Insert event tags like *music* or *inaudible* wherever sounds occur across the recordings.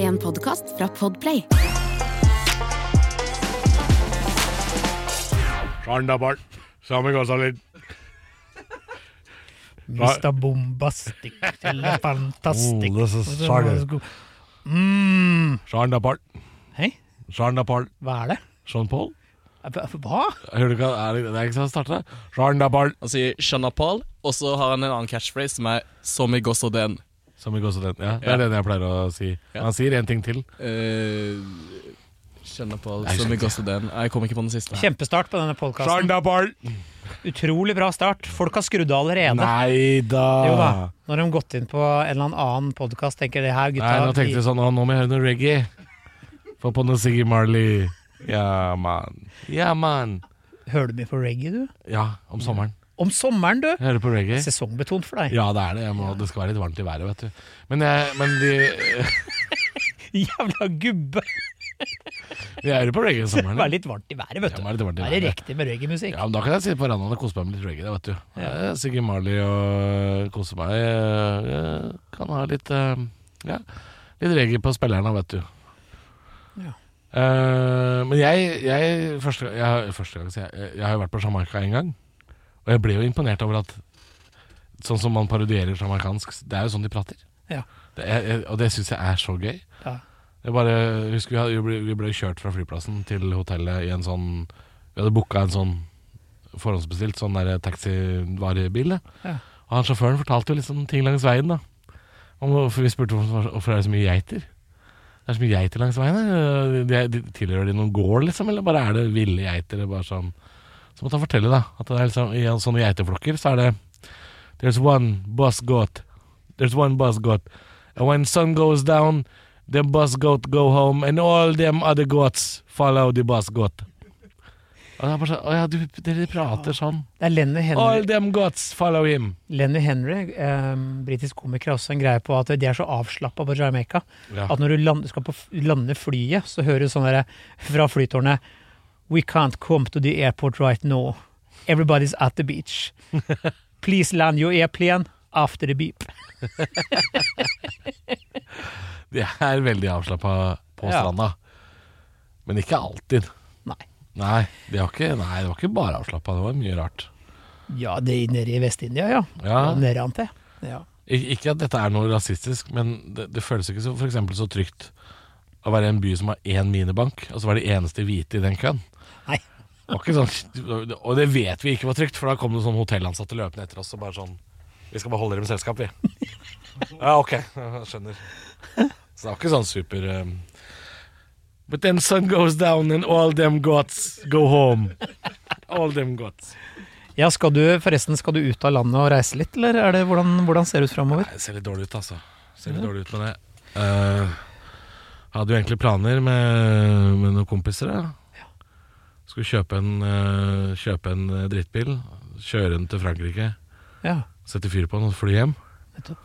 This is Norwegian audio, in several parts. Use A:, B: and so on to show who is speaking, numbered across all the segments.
A: en podkast fra Podplay.
B: Sandabart. Sami Gonzalez.
C: Mr. Bombastic eller Fantastic.
B: Oh, this is
C: Og så
B: sorry.
C: må jeg sko- Mm.
B: Sandapart.
C: Hei,
B: Sandapart.
C: hva er det?
B: Sean Paul?
C: Hva?
B: Hører du hva er det, det er ikke sånn det starter? Sandapart.
D: Han sier Shanapal, og så har han en annen catchphrase som er Som i Gossoden.
B: Som i gåsehudene. Ja, det er
D: Ja.
B: den jeg pleier å si.
D: Ja.
B: Han sier én ting til.
D: Uh, Shanapal,
B: Jeg
D: Som i
B: skjønte.
D: Gossoden. Nei, Jeg kommer ikke på den siste.
C: Kjempestart på denne podkasten.
B: Sandapart!
C: Utrolig bra start. Folk har skrudd av allerede.
B: Nei da.
C: Jo da. Når de har gått inn på en eller annen podkast, tenker de her gutta
B: Nei, nå tenkte
C: de,
B: jeg sånn Å, nå må jeg høre noe reggae. Få på noe Siggy Marley. Ja, mann. Ja, mann.
C: Hører du mye på reggae, du?
B: Ja, om sommeren.
C: Om sommeren, du!
B: Jeg hører på reggae.
C: Sesongbetont for deg.
B: Ja, det er det. Jeg må, det skal være litt varmt i været, vet du. Men, jeg, men de,
C: *laughs*
B: *laughs*
C: Jævla gubbe!
B: jeg hører på reggae om
C: Det
B: sommeren.
C: var litt varmt i været, vet
B: Ja,
C: du.
B: det var litt varmt i
C: Da er det
B: været.
C: riktig med reggaemusikk.
B: Ja, men Da kan jeg sitte på verandaen og kose meg med litt reggae. Det vet du ja. Siggy Marley og kose meg. Eh, Jeg kan ha litt eh, Ja, litt reggae på spillerne, vet du.
C: Ja.
B: Eh, men jeg, jeg, første, jeg, har- første gang sier jeg, jeg, jeg har jo vært på Jamaica en gang. Og jeg ble jo imponert over at Sånn som man parodierer jamaicansk, det er jo sånn de prater.
C: Ja.
B: Det er, jeg, og det syns jeg er så gøy.
C: Ja.
B: Jeg bare husker vi, hadde, vi, ble, vi ble kjørt fra flyplassen til hotellet i en sånn Vi hadde booka en sånn forhåndsbestilt sånn der taxivarebil. da.
C: Ja.
B: Og han sjåføren fortalte jo liksom ting langs veien, da. Om, hvorfor- vi spurte hvorfor, hvorfor er det så mye geiter. Det er så mye geiter langs veien. da. De, de, tilhører de noen gård, liksom, eller bare er det ville geiter? eller Bare sånn. Så måtte han fortelle, da, at det er liksom, i sånne geiteflokker så er det There's one bus goat. There's one bus goat. And when sun goes down, the bus goat go home, and all them other goats follow the bus goat. Og det er bare sånn, Å ja, du, dere prater sånn.
C: Det er Lenny Henry,
B: All them goats follow him.
C: Lenny Henry em, britisk komiker, har også en greie på at de er så avslappa på Jamaica
B: Ja.
C: at når du land, skal på, f- lande flyet, så hører du sånn derre fra flytårnet We can't come to the airport right now. Everybody's at
B: *laughs*
C: the beach. Please land your airplane after the beep.
B: De er veldig avslappa på
C: Ja.
B: stranda. Men ikke alltid.
C: Nei.
B: Nei, det var ikke, nei, det var ikke bare avslappa. Det var mye rart.
C: Ja, det er nede i Vest-India, ja.
B: Ja.
C: Og Nede an til. Ja.
B: Ik ikke at dette er noe rasistisk, men det, det føles ikke så, for eksempel, så trygt å være i en by som har én minibank, og så være de eneste hvite i den køen.
C: Nei.
B: Det var ikke sånn, og det vet vi ikke var trygt, for da kom det sånn hotellansatte løpende etter oss og bare sånn Vi skal bare holde dere med selskap, vi. Ja, ok. Jeg skjønner. Så det var ikke sånn super um, But then sun goes down and all them gods go home. All them gods.
C: ja, skal du forresten skal du ut av landet og reise litt, eller er det hvordan, hvordan ser det ut framover?
B: Nei, det ser litt dårlig ut, altså. Ser litt dårlig ut med det. Eh, hadde jo egentlig planer med, med noen kompiser. Da. Skulle kjøpe en, eh, kjøpe en eh, drittbil, kjøre den til Frankrike,
C: Ja,
B: sette fyr på den og fly hjem.
C: nettopp.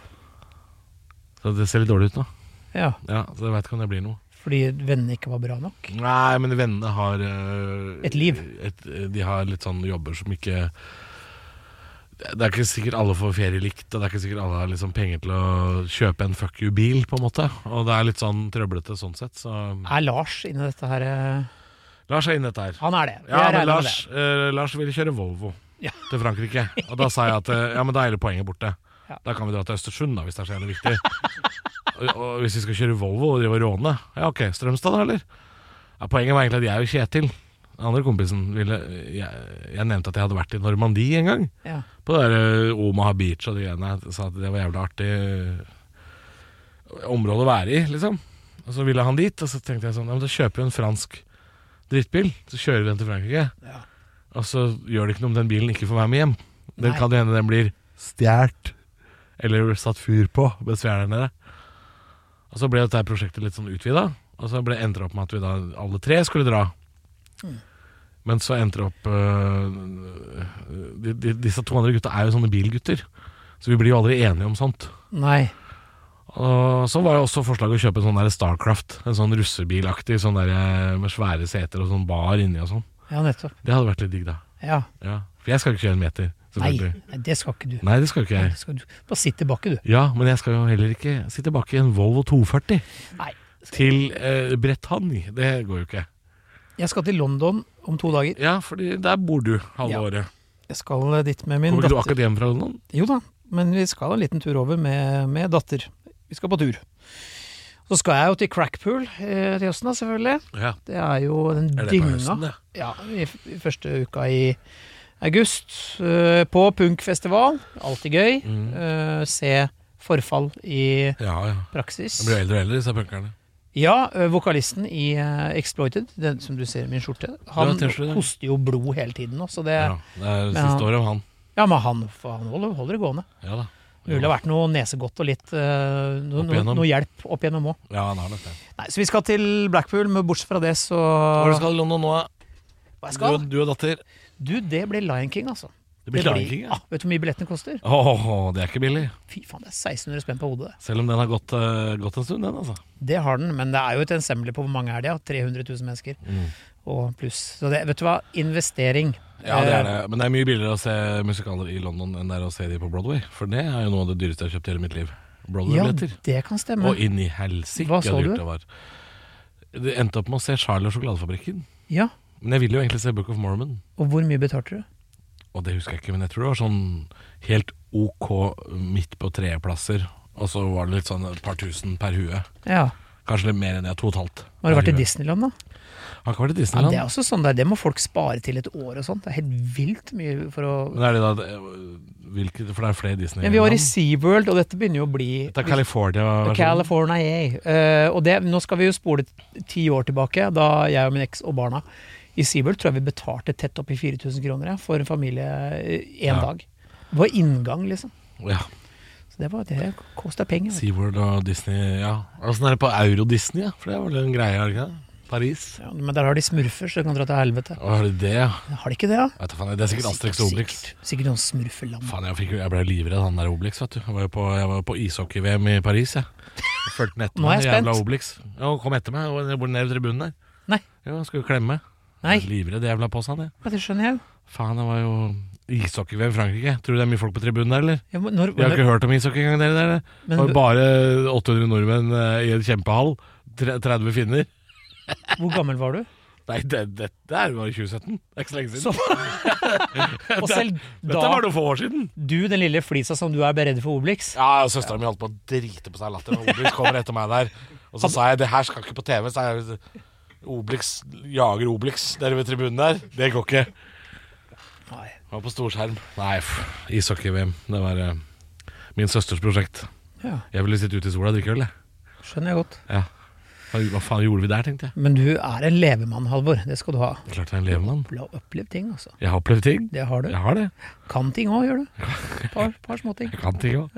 B: Så det ser litt dårlig ut nå.
C: Ja,
B: Ja, så jeg veit ikke om det blir noe.
C: fordi vennene ikke var bra nok?
B: Nei, men vennene har eh,
C: Et liv.
B: et, de har litt sånn jobber som ikke Det er ikke sikkert alle får ferie likt, og det er ikke sikkert alle har liksom penger til å kjøpe en fuck you-bil, på en måte. Og det er litt sånn trøblete sånn sett, så
C: Er Lars inni dette her eh,
B: Lars er inne i dette her.
C: Han er det.
B: Ja,
C: Jeg regner
B: men
C: med
B: Lars,
C: det.
B: eh, Lars ville kjøre Volvo
C: Ja.
B: til Frankrike. Og da sa jeg at eh, ja, men da er hele poenget borte.
C: Ja.
B: Da kan vi dra til Østersund, da, hvis det er så jævlig viktig. og, og hvis vi skal kjøre Volvo og drive og råne, ja ok, Strømstad da, eller? Ja, poenget var egentlig at jeg og Kjetil, den andre kompisen, ville jeg, jeg nevnte at jeg hadde vært i Normandie en gang.
C: Ja.
B: På det der eh, Omaha Beach og de greiene. Jeg Sa at det var jævlig artig eh, område å være i, liksom. Og så ville han dit, og så tenkte jeg sånn Ja, men da kjøper vi en fransk drittbil, så kjører vi den til Frankrike.
C: Ja.
B: Og så gjør det ikke noe om den bilen ikke får være med hjem. Den
C: Nei.
B: kan jo hende den blir stjålet eller satt fyr på mens vi er der nede. Og så ble dette her prosjektet litt sånn utvida, og så ble endte det opp med at vi da alle tre skulle dra.
C: Mm.
B: Men så endte det opp øh, de, de, Disse to andre gutta er jo sånne bilgutter, så vi blir jo aldri enige om sånt.
C: Nei.
B: Og så var jo også forslaget å kjøpe en sånn der Starcraft. En sånn russebilaktig sånn der øh, med svære seter og sånn bar inni og sånn.
C: Ja, nettopp.
B: Det hadde vært litt digg, da.
C: Ja.
B: Ja, For jeg skal ikke kjøre en meter.
C: Nei,
B: selvfølgelig.
C: nei, det skal ikke du.
B: Nei, det skal ikke
C: Det
B: jeg.
C: skal du. Bare sitt tilbake, du.
B: Ja, men jeg skal jo heller ikke sitte bak i en Volvo 240.
C: Nei.
B: til eh, Bretagne. Det går jo ikke.
C: Jeg skal til London om to dager.
B: Ja, fordi der bor du halve
C: Ja.
B: året.
C: Jeg skal dit med min
B: Kommer ikke du
C: datter.
B: akkurat hjem fra London?
C: Jo da, men vi skal en liten tur over med, med datter. Vi skal på tur. Så skal jeg jo til Crackpool eh, til høsten, da, selvfølgelig.
B: Ja.
C: Det er jo den
B: Er det på høsten,
C: dynga
B: det?
C: ja, i, f- i første uka i august. Eh, på punkfestival. Alltid gøy.
B: Mm.
C: Eh, se forfall i
B: Ja, ja.
C: praksis.
B: De blir jo eldre og eldre, disse punkerne.
C: Ja, ø, vokalisten i eh, Exploited, den som du ser i min skjorte, han
B: Det var T-skjorte, det.
C: hoster jo blod hele tiden nå, så det
B: Ja,
C: Ja,
B: det er
C: Men han-
B: siste året om han.
C: men han, han holder, holder det gående.
B: Ja da.
C: Mulig det har vært noe nesegodt og litt eh, no,
B: Opp
C: no,
B: igjennom.
C: noe hjelp opp gjennom òg.
B: Ja, han har nok det.
C: Nei, så vi skal til Blackpool, men bortsett fra det, så
B: Hva er det du skal i London nå, da?
C: Hva jeg
B: Du,
C: skal?
B: og- du og datter?
C: Du, det blir Lion King, altså.
B: Det blir Ah. klaging, ja.
C: ah, Vet du hvor mye billettene koster?
B: Åh, det er ikke billig.
C: Fy faen, det er 1600 spenn på hodet. det.
B: Selv om den har gått, eh, gått en stund, den, altså.
C: Det har den, men det er jo et ensemble på hvor mange er det? Ja? 300 000 mennesker
B: Mm.
C: og pluss. Så det, vet du hva, investering. Eh,
B: Ja, det er det. Men det er mye billigere å se musikaler i London enn det er å se de på Broadway. For det er jo noe av det dyreste jeg har kjøpt i hele mitt liv.
C: Ja,
B: Broadway-billetter.
C: det kan stemme.
B: Og inn i helsike
C: Hva
B: hvor
C: så du?
B: dyrt det var. Det endte opp med å se Charlie og sjokoladefabrikken.
C: Ja,
B: Men jeg ville jo egentlig se Book of Mormon,
C: Og hvor mye betalte du?
B: og det husker jeg ikke. Men jeg tror det var sånn helt ok midt på tredjeplasser. Og så var det litt sånn et par tusen per hue.
C: Ja.
B: Kanskje litt mer enn det. To og et halvt.
C: Har du
B: per
C: vært i
B: hue.
C: Disneyland, da?
B: Har ikke vært i
C: Ja,
B: Disneyland.
C: det er også sånn der, det må folk spare til et år og sånt. Det er helt vilt mye for å
B: Men er det da det- hvilke, For det er flere Disney.
C: Men vi var i SeaWorld, og dette begynner jo å bli
B: Dette er California.
C: California. yeah. Eh, og det, nå skal vi jo spole ti år tilbake, da jeg og min eks og barna i SeaWorld tror jeg vi betalte tett opp i 4000 kroner ja, for en familie én
B: Ja.
C: dag. Det var inngang, liksom.
B: Ja,
C: Så det, var, det kosta penger. vet du.
B: SeaWorld og Disney. Ja. Åssen er det på Euro-Disney? Ja? For det var vel en greie, er det ikke det? Paris.
C: Ja, men der har de smurfer, så det kan dra til helvete.
B: Å, er det det, ja?
C: Har de ikke det, da?
B: Vet du faen, Det er sikkert Asterix og Obelix.
C: Sikkert, sikkert noen smurfeland.
B: Faen, jeg, fikk, jo- jeg ble livredd han der Obelix, vet du. Jeg var jo på, jeg var jo på ishockey-VM i Paris, jeg. Og Fulgte den etter
C: Nå er
B: meg,
C: jeg
B: jævla
C: spent.
B: Obelix. Ja, han kom etter meg, og jeg bor nede i tribunen der.
C: Nei.
B: Jo, han skulle klemme.
C: Nei,
B: Livredd jævla påsan, jeg.
C: det skjønner jeg jo.
B: Faen, det var jo ishockey-VM i Frankrike. Tror du det er mye folk på tribunen der, eller?
C: Ja, men når,
B: Vi har ikke hørt om ishockey engang, dere der. Det
C: men
B: var jo bare 800 nordmenn eh, i en kjempehall. Tre- 30 finner.
C: hvor gammel var du?
B: Nei, det- dette er jo bare 2017. Det er ikke så lenge
C: Så-
B: siden.
C: Og selv
B: *laughs* Dette var
C: da,
B: noen få år siden.
C: du den lille flisa som du er beredd for Obelix?
B: Ja, søstera mi holdt på å drite på seg av latter når Obelix kommer etter meg der. Og så sa jeg det her skal ikke på TV. Så jeg, Obelix jager Obelix der ved tribunen der. Det går ikke.
C: Nei.
B: Han var på storskjerm. Nei, pff, ishockey-VM. Det var eh, min søsters prosjekt.
C: Ja,
B: Jeg ville sitte ute i sola og drikke øl, jeg.
C: skjønner jeg godt.
B: Ja. Hva, hva faen gjorde vi der, tenkte jeg.
C: Men du er en levemann, Halvor. Det skal du ha.
B: Klart jeg er en levemann.
C: Du har opplevd ting, altså.
B: Jeg har opplevd ting.
C: Det har du.
B: Jeg har det.
C: Kan ting òg, gjør du. Par, par småting.
B: Jeg kan ting òg.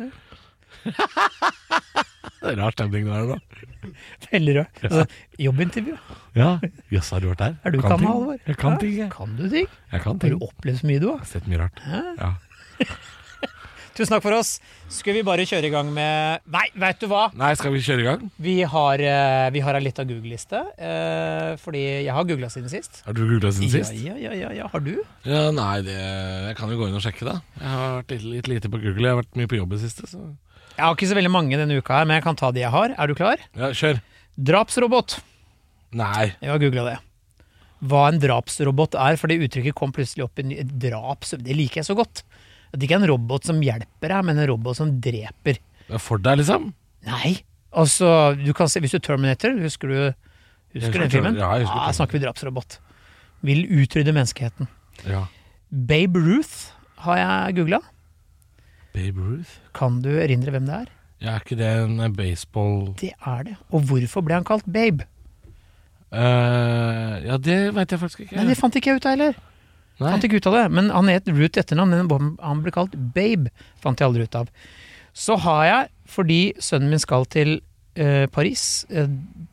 B: *laughs* Det er rar stemning det der nå.
C: Veldig rart. Altså, jobbintervju.
B: Ja, jøss, har du vært der?
C: Er du kan, Halvor?
B: Jeg kan
C: Ja,
B: ting, jeg.
C: Kan du ting?
B: Jeg kan
C: Har
B: ting.
C: du opplevd så mye, du òg?
B: Jeg har sett mye rart. Ja.
C: Tusen takk for oss. Skal vi bare kjøre i gang med Nei, veit du hva?
B: Nei, skal vi kjøre i gang?
C: Vi har, eh, vi har ei lita Google-liste. eh, Fordi jeg har googla siden sist.
B: Har du googla siden sist?
C: Ja, ja, ja, ja. Har du?
B: Ja, nei, det, jeg kan jo gå inn og sjekke, da. Jeg har vært litt, litt lite på Google. Jeg har vært mye på jobb i det siste, så
C: Jeg har ikke så veldig mange denne uka, her, men jeg kan ta de jeg har. Er du klar?
B: Ja, kjør.
C: Drapsrobot.
B: Nei.
C: Jeg har googla det. Hva en drapsrobot er, for det uttrykket kom plutselig opp i ny- draps... Det liker jeg så godt. At det ikke er en robot som hjelper deg, men en robot som dreper.
B: Det er for deg, liksom?
C: Nei. Altså, du kan se, hvis du Terminator, husker du
B: Jeg
C: husker den
B: husker
C: filmen?
B: Terminator. Ja, jeg husker
C: da snakker vi drapsrobot. Vil utrydde menneskeheten.
B: Ja.
C: Babe Ruth har jeg googla.
B: Babe Ruth?
C: Kan du erindre hvem det er?
B: Ja, er ikke det en eh, baseball
C: Det er det. Og hvorfor ble han kalt Babe?
B: Eh, Ja, det veit jeg faktisk ikke.
C: Nei, det fant ikke jeg ut av heller.
B: Nei.
C: Fant ikke ut av det, men han het Ruth i etternavn, men han ble kalt Babe. Fant jeg aldri ut av. Så har jeg, fordi sønnen min skal til eh, Paris eh,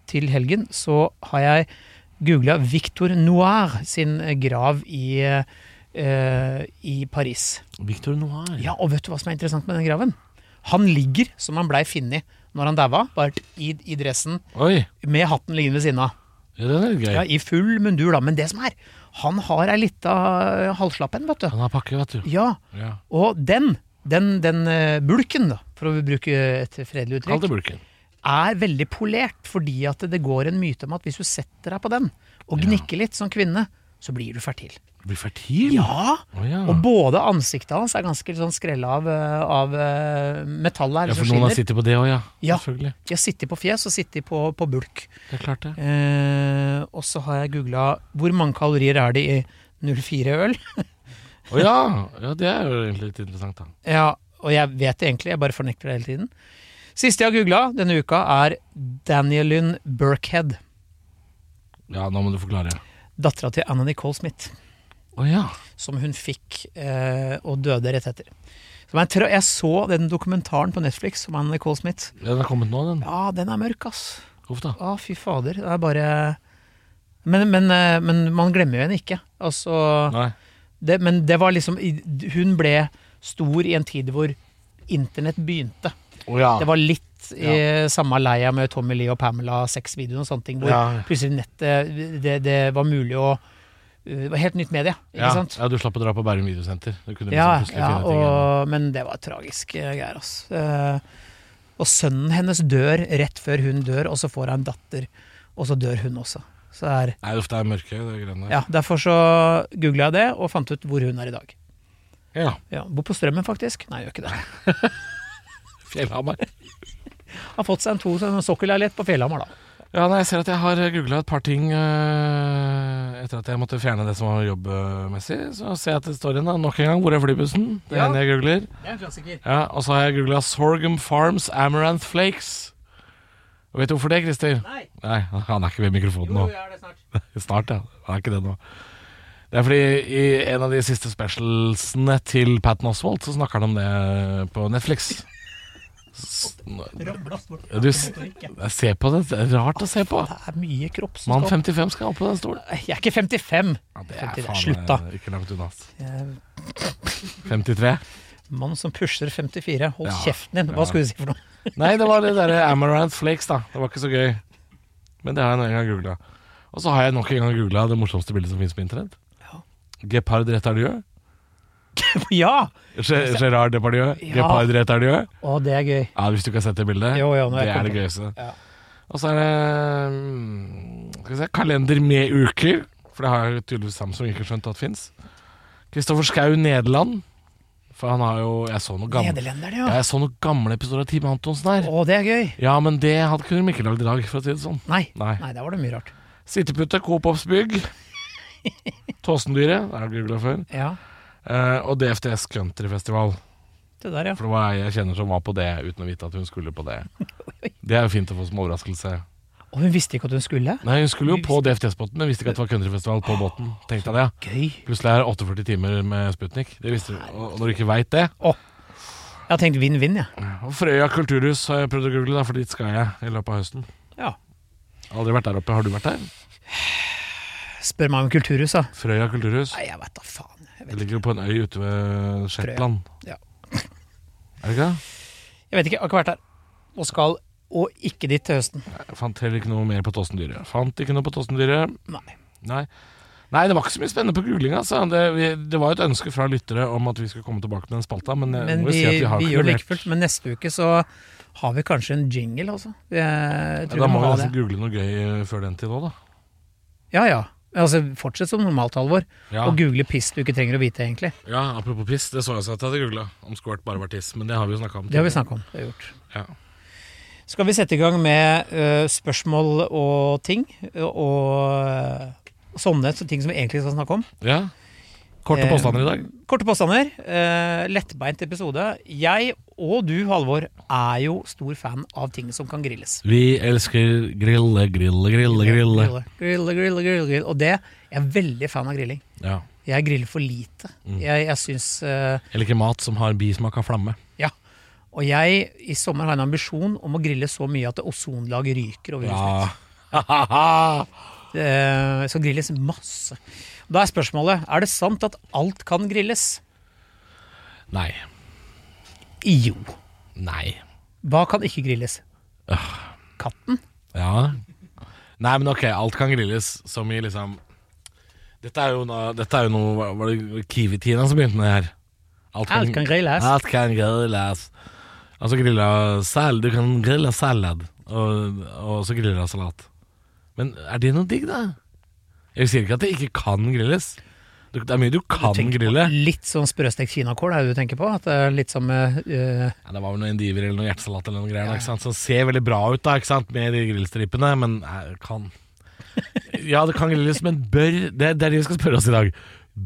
C: til helgen, så har jeg googla Victor Noir sin eh, grav i, eh, i Paris.
B: Victor Noir.
C: Ja, og vet du hva som er interessant med den graven? Han ligger som han blei funnet når han daua, bare i, i dressen,
B: Oi.
C: med hatten liggende ved siden av.
B: Ja, den er litt gøy.
C: Ja, I full mundur, da. Men det som er, han har ei lita eh, halvslapp en, vet du.
B: Han har pakke, vet du.
C: Ja,
B: Ja.
C: og den, den, den eh, bulken, da, for å bruke et fredelig
B: Kall
C: uttrykk,
B: det bulken.
C: er veldig polert, fordi at det går en myte om at hvis du setter deg på den og
B: Ja.
C: gnikker litt som kvinne, så blir du fertil.
B: Blir fertil?
C: Ja!
B: Å, ja.
C: Og både ansiktet hans er ganske sånn skrella av, eh, av eh, metallet her.
B: ja,
C: som
B: for noen har
C: skinner.
B: sittet på det òg, ja.
C: Ja.
B: Selvfølgelig.
C: De har sittet på fjes og sittet på, på bulk.
B: Det er klart, det.
C: Eh, og så har jeg googla hvor mange kalorier er det i 04-øl.
B: Å ja. ja! Det er jo egentlig litt interessant, da.
C: *laughs* Ja, og jeg vet det egentlig, jeg bare fornekter det hele tiden. Siste jeg har googla denne uka, er Danielyn Burkhead.
B: Ja, nå må du forklare.
C: Dattera til Anna Nicole Smith,
B: Å ja.
C: som hun fikk eh, og døde rett etter. Som er en tra jeg så den dokumentaren på Netflix om Anna Nicole Smith.
B: ja. Den har kommet nå, den.
C: Ja, den er mørk, ass.
B: Uff da.
C: Å, fy fader. Det er bare men, men, eh, men man glemmer jo henne ikke. Altså,
B: Nei.
C: det, men det var liksom i- Hun ble stor i en tid hvor internett begynte.
B: Å ja.
C: Det var litt i samme leia med Tommy Lee og Pamela seks-videoen og sånne ting, hvor
B: Ja.
C: plutselig nettet det, det var mulig å eh, Det var helt nytt medie, ikke
B: ja.
C: sant?
B: ja, du slapp å dra på Bærum videosenter. Du kunne
C: Ja,
B: liksom plutselig
C: ja
B: finne ting. igjen.
C: og, men det var tragiske greier, altså. Eh, Og sønnen hennes dør rett før hun dør, og så får hun en datter, og så dør hun også. Så det er,
B: Nei, uff, det er mørke, det greiene der.
C: ja, derfor så googla jeg det, og fant ut hvor hun er i dag.
B: Ja.
C: Ja, bor på Strømmen, faktisk. Nei, gjør ikke det.
B: Fjellhamar.
C: Har fått seg en to en sokkelleilighet på Fjellhamar, da.
B: Ja, nei, jeg ser at jeg har googla et par ting eh, etter at jeg måtte fjerne det som var jobbmessig. Så ser jeg at det står igjen da, nok en gang 'Hvor er flybussen?' Det er
C: Ja.
B: en jeg googler.
C: Det er en klassiker.
B: Ja, Og så har jeg googla 'Sorghum Farms Amaranth Flakes'. Og vet du hvorfor det, Christer?
C: Nei,
B: Nei, han er ikke ved mikrofonen nå.
C: er det snart.
B: Snart, ja. Han er ikke det nå. Det er fordi i en av de siste specialsene til Patton Oswald, så snakker han om det på Netflix. S- Ja, Du, s- se på det. Det er rart å se på.
C: Det er mye kropp som
B: Mann
C: skal
B: 55 skal opp på den stolen.
C: Jeg er ikke 55!
B: Ja, det
C: Femti-
B: er faen
C: Slutt, da.
B: eh, ikke langt unna. ass.
C: Jeg er
B: 53.
C: Mann som pusher 54. Hold
B: Ja,
C: kjeften din!
B: ja.
C: Hva skulle du si for noe? *laughs*
B: Nei, det var det derre Amaranth Flakes, da. Det var ikke så gøy. Men det har jeg nå en gang googla. Og så har jeg nok en gang googla det morsomste bildet som finnes på internett.
C: Ja.
B: Gepard Retardieu.
C: ja!
B: Ge- Gerard Depardieu.
C: Ja.
B: Gepard Retardieu.
C: Å, det er gøy.
B: Ja, Hvis du ikke har sett det bildet.
C: Jo, jo, nå
B: det
C: har jeg
B: er det
C: kommet.
B: gøyeste.
C: Ja.
B: Og så er det mm, skal vi se, kalender med uker. For det har jo tydeligvis Samsung ikke skjønt at fins. Kristoffer Schau Nederland. For han har jo Jeg så noen gamle,
C: Nederlender, det,
B: ja,
C: ja.
B: jeg så noen gamle episoder av Team Antonsen her.
C: Å, det er gøy.
B: Ja, men det hadde kunne de ikke lagd i dag, for å si det sånn.
C: Nei.
B: Nei.
C: Nei, der var det mye rart.
B: Sittepute, Coop Ops
C: *laughs*
B: Bygg. Tåsendyret, det har jeg googla før.
C: Ja,
B: Eh, og DFTS Countryfestival.
C: det der, ja.
B: For det var ei jeg kjenner som var på det uten å vite at hun skulle på det. Det er jo fint å få som overraskelse.
C: Og hun visste ikke at hun skulle.
B: Nei, hun skulle jo på DFTS-båten, men visste ikke at det var countryfestival på båten. Tenkte jeg det, ja.
C: Gøy.
B: Plutselig er det 48 timer med Sputnik. Det visste du. Og og når du ikke veit det
C: Jeg har tenkt vinn-vinn, jeg.
B: Og Frøya kulturhus har jeg prøvd å google, da, for dit skal jeg i løpet av høsten.
C: Ja.
B: Aldri vært der oppe. Har du vært der?
C: Spør meg om kulturhus, da.
B: Frøya kulturhus.
C: Nei, jeg vet da faen. Jeg
B: Det
C: vet,
B: ligger jo på en øy ute ved Shetland.
C: Ja.
B: Er det ikke det?
C: jeg vet ikke, jeg har ikke vært der. Og skal og ikke dit til høsten.
B: Jeg fant heller ikke noe mer på Tåsendyret. Fant ikke noe på Tåsendyret.
C: Nei.
B: Nei. Nei, det var ikke så mye spennende på googling. Altså. Det, vi, det var et ønske fra lyttere om at vi skulle komme tilbake med den spalta, men, jeg
C: Men
B: må jo
C: vi,
B: si at vi har
C: vi
B: ikke
C: gjør det
B: levert.
C: like fullt. Men neste uke så har vi kanskje en jingle, altså. Jeg
B: Ja, da
C: tror vi
B: må
C: må
B: vi
C: ha
B: nesten
C: det.
B: google noe gøy eh, før den tid òg, da.
C: Ja ja. Altså, fortsett som normalt, Halvor.
B: Ja.
C: Og google piss du ikke trenger å vite, egentlig.
B: ja, apropos piss, det så jeg også at jeg hadde googla. Om squirt bare var tiss, men det har vi jo snakka om.
C: Det har vi snakka om. Det har vi gjort.
B: Ja.
C: Skal vi sette i gang med ø, spørsmål og ting? ø, Og ø, sånne så ting som vi egentlig skal snakke om.
B: ja. Korte
C: Eh,
B: påstander i dag.
C: Korte påstander. ø, lettbeint episode. Jeg og du, Halvor, er jo stor fan av ting som kan grilles.
B: Vi elsker grille, grille, grille, grille.
C: Grille, grille, grille, grille, grille. Og det, jeg er veldig fan av grilling.
B: Ja.
C: Jeg griller for lite.
B: Mm.
C: Jeg, jeg syns eh,
B: Jeg liker mat som har bismak av flamme.
C: Ja. Og jeg i sommer har en ambisjon om å grille så mye at det ozonlaget ryker over huset.
B: Ja. ja,
C: Det eh, skal grilles masse. Da er spørsmålet er det sant at alt kan grilles.
B: Nei.
C: Jo.
B: Nei.
C: Hva kan ikke grilles?
B: Ah.
C: Katten?
B: Ja. Nei, men ok, alt kan grilles som i liksom Dette er jo, noe- dette er jo noe hva- Var det Kiwi-Tina som begynte med det her?
C: Alt kan grilles.
B: Alt kan grilles. Altså grilla sal Du kan grille salad. Og, og så griller han salat. Men er det noe digg, da? Jeg sier ikke at det ikke kan grilles. Du- Det er mye du kan
C: tenker på
B: grille.
C: Litt sånn sprøstekt kinakål er det du tenker på? At det er litt som eh, eh,
B: Ja, det var vel noe endiver eller noe hjertesalat eller noe greier da, ikke sant? Som ser veldig bra ut da, ikke sant? Med de grillstripene, men eh,
C: *laughs*
B: kan Ja, det kan grilles, men bør Det, det er det vi skal spørre oss i dag.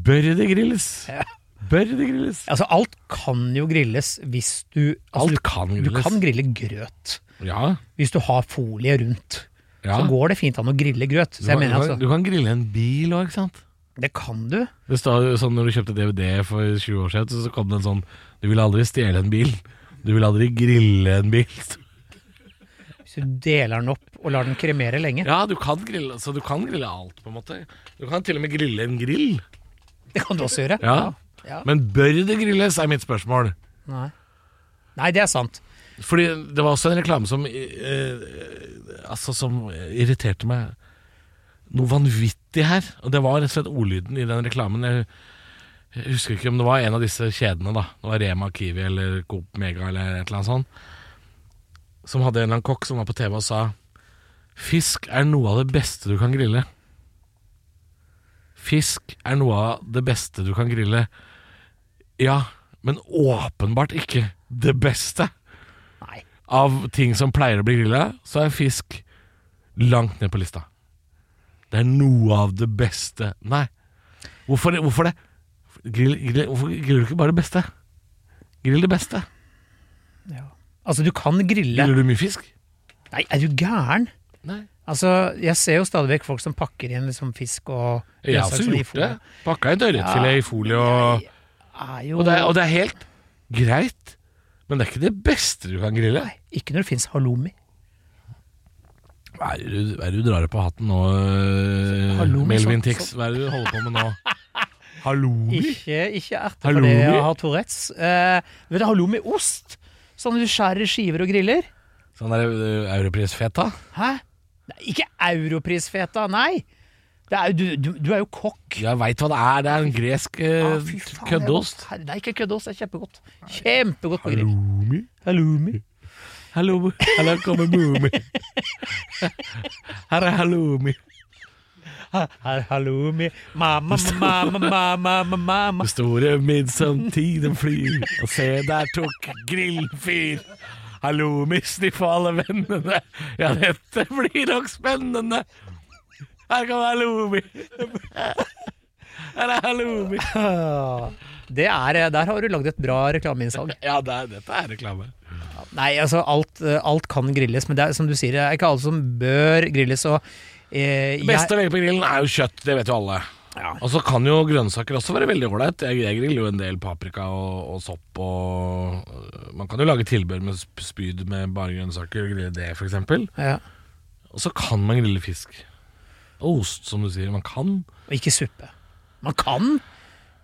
B: Bør det grilles?
C: Ja.
B: Bør det grilles?
C: Altså, alt kan jo grilles hvis du altså,
B: Alt kan
C: du, du
B: grilles.
C: kan grille grøt.
B: Ja,
C: Hvis du har folie rundt,
B: ja.
C: så går det fint an å grille grøt. Så jeg
B: du,
C: mener
B: kan,
C: altså,
B: du kan grille en bil òg, ikke sant?
C: det kan du.
B: Det står jo sånn når du kjøpte DVD for 20 år siden, så- så kom det en sånn Du vil aldri stjele en bil. Du vil aldri grille en bil. *laughs*
C: Hvis du deler den opp og lar den kremere lenge.
B: Ja, du kan grille, så du kan grille alt, på en måte. Du kan til og med grille en grill.
C: Det kan du også gjøre.
B: Ja.
C: Ja.
B: Men bør det grilles, er mitt spørsmål.
C: Nei. Nei, det er sant.
B: Fordi det var også en reklame som eh, Altså som irriterte meg noe vanvittig her. Og det var rett og slett ordlyden i den reklamen. Jeg, jeg husker ikke om det var en av disse kjedene, da. Det var Rema, Kiwi eller Coop Mega eller et eller annet sånt. Som hadde en eller annen kokk som var på TV og sa Fisk er noe av det beste du kan grille. Fisk er noe av det beste du kan grille. Ja, men åpenbart ikke det beste
C: Nei.
B: av ting som pleier å bli grilla, så er fisk langt ned på lista. Det er noe av det beste Nei. Hvorfor, hvorfor det? Grill, grill, hvorfor griller du ikke bare det beste? Grill det beste.
C: Ja. Altså, du kan grille
B: Griller du mye fisk?
C: Nei, er du gæren?
B: Nei.
C: Altså, jeg ser jo stadig vekk folk som pakker inn liksom fisk og
B: Jeg har også
C: grønnsaker i
B: gjort det.
C: folie.
B: Pakka en ørretfilet i folie, og,
C: Er jo
B: og, det, er- og det er helt greit. Men det er ikke det beste du kan grille.
C: Nei, ikke når det fins halloumi.
B: Hva er det du, hva er det du drar deg på hatten nå, øh,
C: Halloumi,
B: Melvin
C: sånn-
B: Tix? Hva er det du holder på med
C: *laughs*
B: nå? Halloumi?
C: Ikke, ikke erte
B: Halloumi?
C: fordi jeg har Tourettes. Eh, vet du, halloumi-ost? Sånn du skjærer i skiver og griller?
B: Sånn der øh, europrisfeta?
C: Hæ? Nei, ikke europrisfeta, nei! Det er, jo- du, du, du er jo kokk.
B: Jeg veit hva det er. Det er en gresk
C: Ah,
B: eh,
C: fy faen, det er
B: køddeost.
C: godt. Herre, Det er ikke køddeost, det er kjempegodt. Kjempegodt på grill.
B: Halloumi?
C: Halloumi.
B: Hallo, hallo, kommer mumi. Her er halloumi.
C: Her, halloumi. Mamma, mamma, mamma, mamma, mamma.
B: Den store midtsomtiden flyr, og se der tok grillfyr. Halloumi sniffa alle vennene. Ja, dette blir nok spennende. Her kommer halloumi. Her er halloumi.
C: Ah, Det er, der har du lagd et bra reklameinnsalg.
B: Ja, det er, dette er reklame.
C: Nei, altså alt, eh, alt kan grilles, men det er som du sier, det er ikke alle som bør grilles. Og, eh,
B: Det beste å legge på grillen er jo kjøtt, det vet jo alle.
C: Ja.
B: Og så kan jo grønnsaker også være veldig ålreit. Jeg, jeg griller jo en del paprika og, og sopp og øh, Man kan jo lage tilbehør med sp- spyd med bare grønnsaker, og grille det f.eks.
C: jeg, ja,
B: Og så kan man grille fisk. Og ost, som du sier. Man kan.
C: og ikke suppe. Man kan,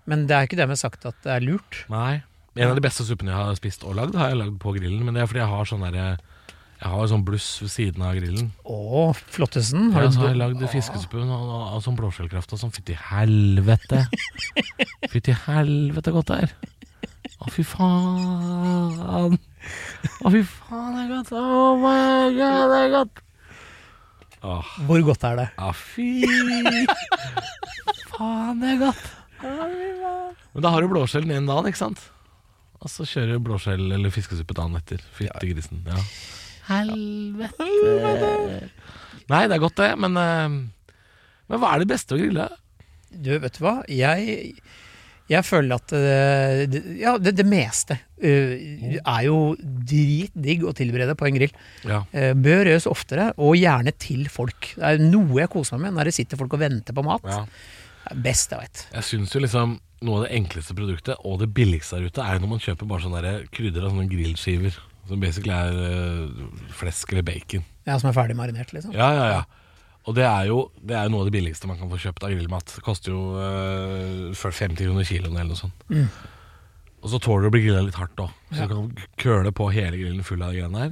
C: men det er ikke dermed sagt at det er lurt.
B: Nei. En av de beste suppene jeg har spist og lagd, har jeg lagd på grillen. Men det er fordi jeg har sånn derre jeg har sånn bluss ved siden av grillen.
C: Å, Flottesen.
B: Ja,
C: Har
B: så har
C: du
B: jeg lagd fiskesuppe og, og, og, sånn blåskjellkraft og sånn. Fytti
C: *laughs*
B: helvete. Fytti helvete godt det er. Å, fy faen. Å, fy faen, det er godt. Oh my god, det er godt. Åh,
C: Hvor godt er det?
B: ja, fy faen, det er godt. Men da har du blåskjellen en dag, ikke sant? Og så kjører du blåskjell eller fiskesuppe dagen etter. Fytti grisen. Ja. Helvete. Nei, det er godt det, men eh, Men hva er det beste å grille?
C: Du, vet du hva? Jeg, jeg føler at eh, det, ja, det, det meste
B: Mm.
C: eh, er jo dritdigg å tilberede på en grill.
B: Ja.
C: Eh, Bør gjøres oftere, og gjerne til folk. Det er noe jeg koser meg med når det sitter folk og venter på mat. Det er best jeg veit.
B: Jeg syns jo liksom noe av det enkleste produktet, og det billigste der ute, er jo når man kjøper bare sånne der krydder og sånne grillskiver. Som basically er eh, flesk eller bacon.
C: Ja, som er ferdig marinert, liksom.
B: Ja, ja, ja. Og det er, jo, det er jo noe av det billigste man kan få kjøpt av grillmat. Det koster jo eh, for 50 kroner kiloen eller noe sånt. Og så tåler du å bli grilla litt hardt òg. Så du kan køle på hele grillen full av de greiene her.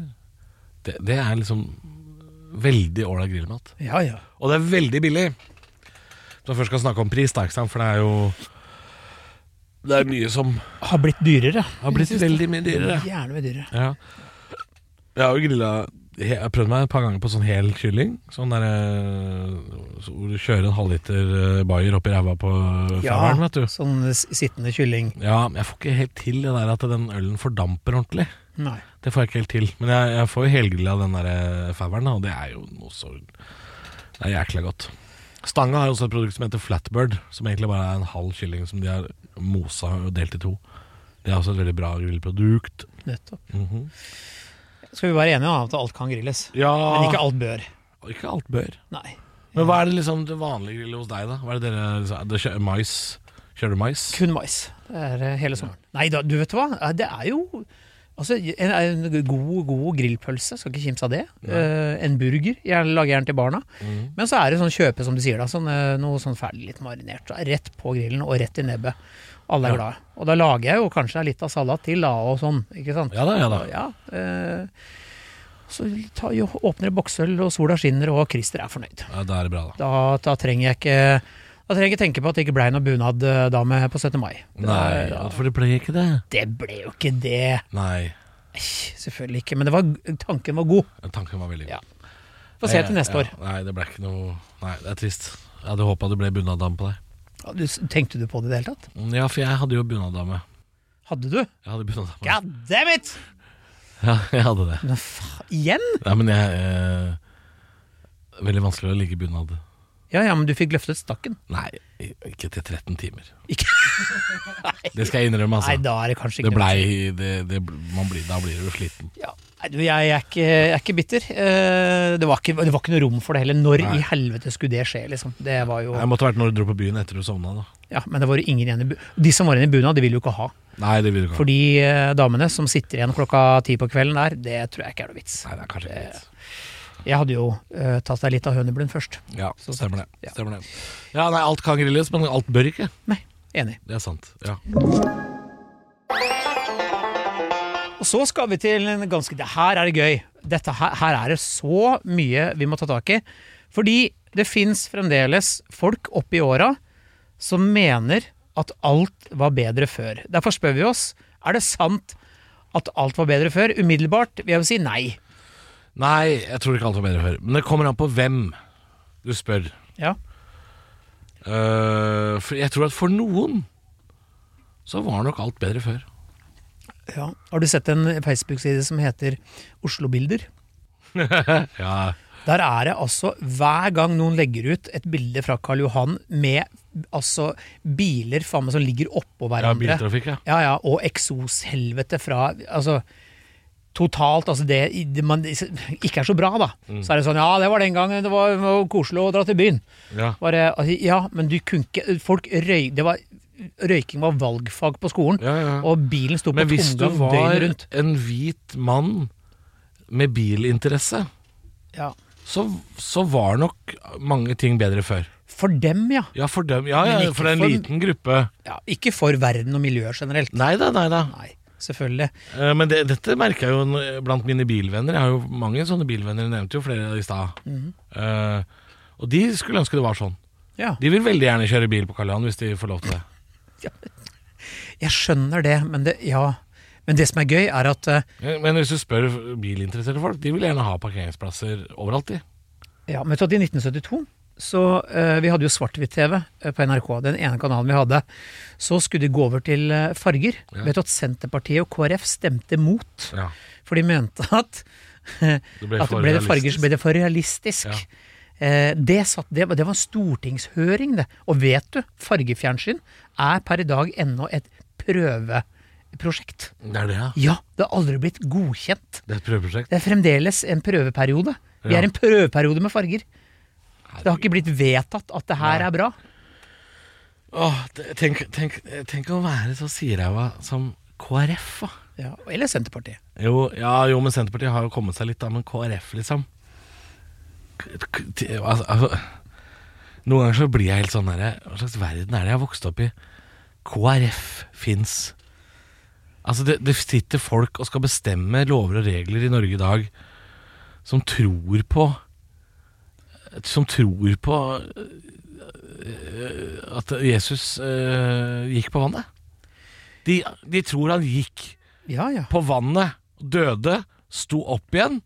B: Det, det er liksom veldig ålreit grillmat.
C: Ja, ja.
B: Og det er veldig billig. Når vi først skal snakke om pris, da, ikke sant? for det er jo Det er mye som
C: Har blitt dyrere.
B: har blitt veldig mye dyrere.
C: Gjerne med dyrere.
B: Ja. Jeg har jo grilla he- jeg har prøvd meg et par ganger på sånn hel kylling. Sånn der, eh, så Hvor du kjører en halvliter eh, Bayer opp i ræva på
C: Ja.
B: fravern, vet du.
C: Sånn s- sittende kylling.
B: Ja, men jeg får ikke helt til det der at den ølen fordamper ordentlig.
C: Nei.
B: Det får jeg ikke helt til. Men jeg, jeg får jo helgrilla den der faveren, da, og det er jo noe så Det er jækla godt. Stanga har jo også et produkt som heter Flatbird, som egentlig bare er en halv kylling som de har mosa og delt i to. Det er også et veldig bra grillprodukt.
C: Nettopp.
B: Mhm.
C: Skal vi være enige om at alt kan grilles,
B: Ja
C: men ikke alt bør.
B: alt. ikke alt bør.
C: Nei.
B: Men hva er det liksom det vanlige grillet hos deg, da? Hva er det dere liksom, er det kjø Mais? Kjører du mais?
C: Kun mais. Det er eh, hele sommeren. Nei da, du vet hva. Eh, Det er jo Altså, en, en god, god grillpølse, skal ikke kimse av det.
B: Nei.
C: Eh, en burger. Jeg lager gjerne til barna.
B: Mhm.
C: Men så er det sånn kjøpe, som du sier, da. Sånn, eh, noe sånn ferdig litt marinert. Da. Rett på grillen og rett i nebbet. Alle
B: Ja.
C: er glade. Og da lager jeg jo kanskje litt av salat til, da, og sånn. Ikke sant.
B: Ja da, ja da.
C: Ja, eh, så ta, jo, åpner jeg boksøl, og sola skinner, og Christer er fornøyd.
B: Ja, da er det bra, da.
C: Da, da trenger jeg ikke da trenger jeg ikke tenke på at det ikke blei noe bunad eh, da med på 17. mai. Det,
B: Nei,
C: da,
B: for det ble ikke det.
C: det ble jo ikke det.
B: Nei,
C: Eish, Selvfølgelig ikke, men det var, tanken var god.
B: tanken var veldig god.
C: Ja. Få se
B: Nei,
C: til neste
B: ja,
C: år.
B: Nei, det ble ikke noe Nei, det er trist. Jeg hadde håpa det ble bunaddame på deg.
C: Ja, Du, s- tenkte du på det i det hele tatt?
B: Mm, Ja, for jeg hadde jo bunaddame.
C: Hadde du?
B: Jeg hadde bunaddame.
C: God damn it!
B: *laughs* Ja, jeg hadde det.
C: Men fa igjen?
B: Nei, men jeg eh, Veldig vanskelig å ligge i bunad.
C: Ja ja, men du fikk løftet stakken.
B: Nei, ikke til 13 timer.
C: Ikke *laughs*
B: Det skal jeg innrømme,
C: Nei,
B: altså.
C: da er det
B: det
C: kanskje ikke noe.
B: blei det, det, man blir, Da blir du sliten.
C: Ja. Nei, du, jeg, er ikke, jeg er ikke bitter. Eh, Det var ikke, det var ikke noe rom for det heller. Når
B: Nei.
C: i helvete skulle det skje, liksom? Det var jo
B: Jeg måtte vært når du dro på byen etter du sovna, da.
C: Ja, men det var jo ingen igjen i bu De som var igjen i bunad, de ville jo ikke ha.
B: Nei, det vil du ikke.
C: For de eh, damene som sitter igjen klokka ti på kvelden der, det tror jeg ikke er noe vits.
B: Nei, det er kanskje ikke vits.
C: Jeg hadde jo eh, tatt deg litt av høneblund først.
B: Ja,
C: Så
B: stemmer det.
C: Ja.
B: stemmer det. Ja, nei, alt kan grilles, men alt bør ikke.
C: Nei, enig.
B: Det er sant. Ja.
C: Og så skal vi til en ganske det Her er det gøy. Dette her, her er det så mye vi må ta tak i. Fordi det fins fremdeles folk oppi åra som mener at alt var bedre før. Derfor spør vi oss er det sant at alt var bedre før. Umiddelbart vil jeg jo si nei.
B: Nei, jeg tror ikke alt var bedre før. Men det kommer an på hvem du spør.
C: Ja.
B: Eh, for jeg tror at for noen så var nok alt bedre før.
C: ja. Har du sett en Facebook-side som heter Oslo-bilder?
B: Ja,
C: Der er det altså hver gang noen legger ut et bilde fra Karl Johan med altså biler faen meg som ligger oppå
B: ja
C: hverandre.
B: biltrafikk, ja.
C: Ja, ja, og eksoshelvete fra Altså totalt Altså det i- det man ikke er så bra, da.
B: Mm.
C: Så er det sånn Ja, det var den gangen det var, det var koselig å dra til byen.
B: ja.
C: Bare, altså, ja, men du kunne ikke Folk røy... Det var Røyking var valgfag på skolen,
B: ja, ja.
C: og bilen sto på
B: Men hvis du
C: tomgang
B: var
C: døgnet rundt.
B: en hvit mann med bilinteresse,
C: Ja.
B: så, så var nok mange ting bedre før.
C: For dem, ja.
B: Ja, for, dem, ja, ja,
C: Men ikke
B: for en
C: for-
B: liten gruppe.
C: ja. Ikke for verden og miljøet generelt.
B: Nei da, nei da.
C: Nei, selvfølgelig.
B: Eh, Men det, dette merker jeg jo n- blant mine bilvenner. Jeg har jo mange sånne bilvenner, jeg nevnte jo flere i stad.
C: Mhm.
B: Eh, og de skulle ønske det var sånn.
C: Ja.
B: De vil veldig gjerne kjøre bil på Karl Johan hvis de får lov til det.
C: Jeg skjønner det, men det, ja. men det som er gøy, er at eh,
B: Men men hvis du spør bilinteresserte folk, de vil gjerne ha parkeringsplasser overalt, de.
C: ja, men vet du at i 1972 så eh, Vi hadde jo svart-hvitt-TV eh, på NRK, den ene kanalen vi hadde. Så skulle de gå over til eh, farger.
B: Ja.
C: Vet du at Senterpartiet og KrF stemte mot?
B: Ja.
C: For de mente at,
B: Det ble
C: at
B: for
C: ble det farger,
B: realistisk.
C: så ble det for realistisk.
B: Ja.
C: Eh, det, satt, det, var- det var en stortingshøring, det. Og vet du, fargefjernsyn er per i dag ennå et prøveprosjekt.
B: Det er det, ja.
C: Ja, det har aldri blitt godkjent.
B: Det er et prøveprosjekt.
C: Det er fremdeles en prøveperiode. Vi
B: Ja.
C: er i en prøveperiode med farger. Det har ikke blitt vedtatt at det her er bra.
B: Åh, det- tenk, tenk, tenk å være så siræva som KrF, da.
C: Ja, eller Senterpartiet.
B: Jo, ja, jo, men Senterpartiet har jo kommet seg litt, da. Men KrF, liksom K- k- t- altså, altså, Noen ganger så blir jeg helt sånn derre Hva slags verden er det jeg har vokst opp i? KrF fins. Altså, det, det sitter folk og skal bestemme lover og regler i Norge i dag som tror på Som tror på øh, at Jesus øh, gikk på vannet. De, de tror han gikk
C: Ja, ja.
B: på vannet, døde, sto opp igjen.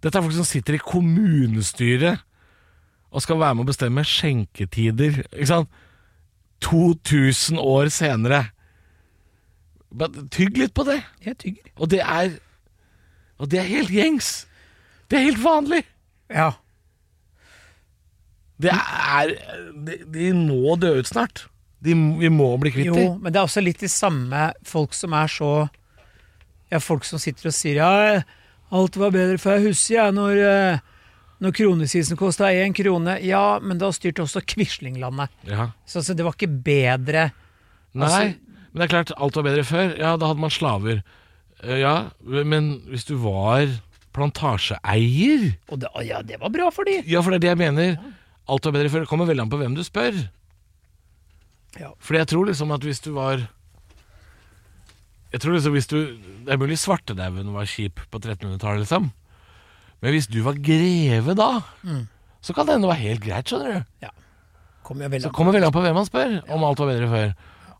B: Dette er folk som sitter i kommunestyret og skal være med å bestemme skjenketider. Ikke sant? 2000 år senere. Bare Tygg litt på det.
C: Jeg tygger.
B: Og det er Og det er helt gjengs. Det er helt vanlig.
C: Ja.
B: Det er De, de må dø ut snart. De, vi må bli kvitt
C: Jo,
B: dem.
C: men det er også litt de samme folk som er så Ja, folk som sitter og sier ja, alt var bedre før. Jeg husker jeg når, eh, når kronesisen kosta én krone. Ja, men da styrte også Quislinglandet.
B: Ja.
C: Så altså, det var ikke bedre.
B: Nei,
C: Altså-
B: men det er klart, alt var bedre før. Ja, da hadde man slaver. Eh, Ja, men hvis du var plantasjeeier
C: Og det, ja, det var bra for de.
B: Ja, for det er det jeg mener. Alt var bedre før. Det kommer veldig an på hvem du spør.
C: Ja.
B: Fordi jeg tror liksom at hvis du var Jeg tror liksom hvis du Det er mulig svartedauden var kjip på 1300-tallet, liksom. Men hvis du var greve da,
C: Mm.
B: så kan det hende det var helt greit, skjønner du.
C: Kom jeg vel
B: Så
C: an.
B: det kommer veldig an på hvem man spør, om alt var bedre før.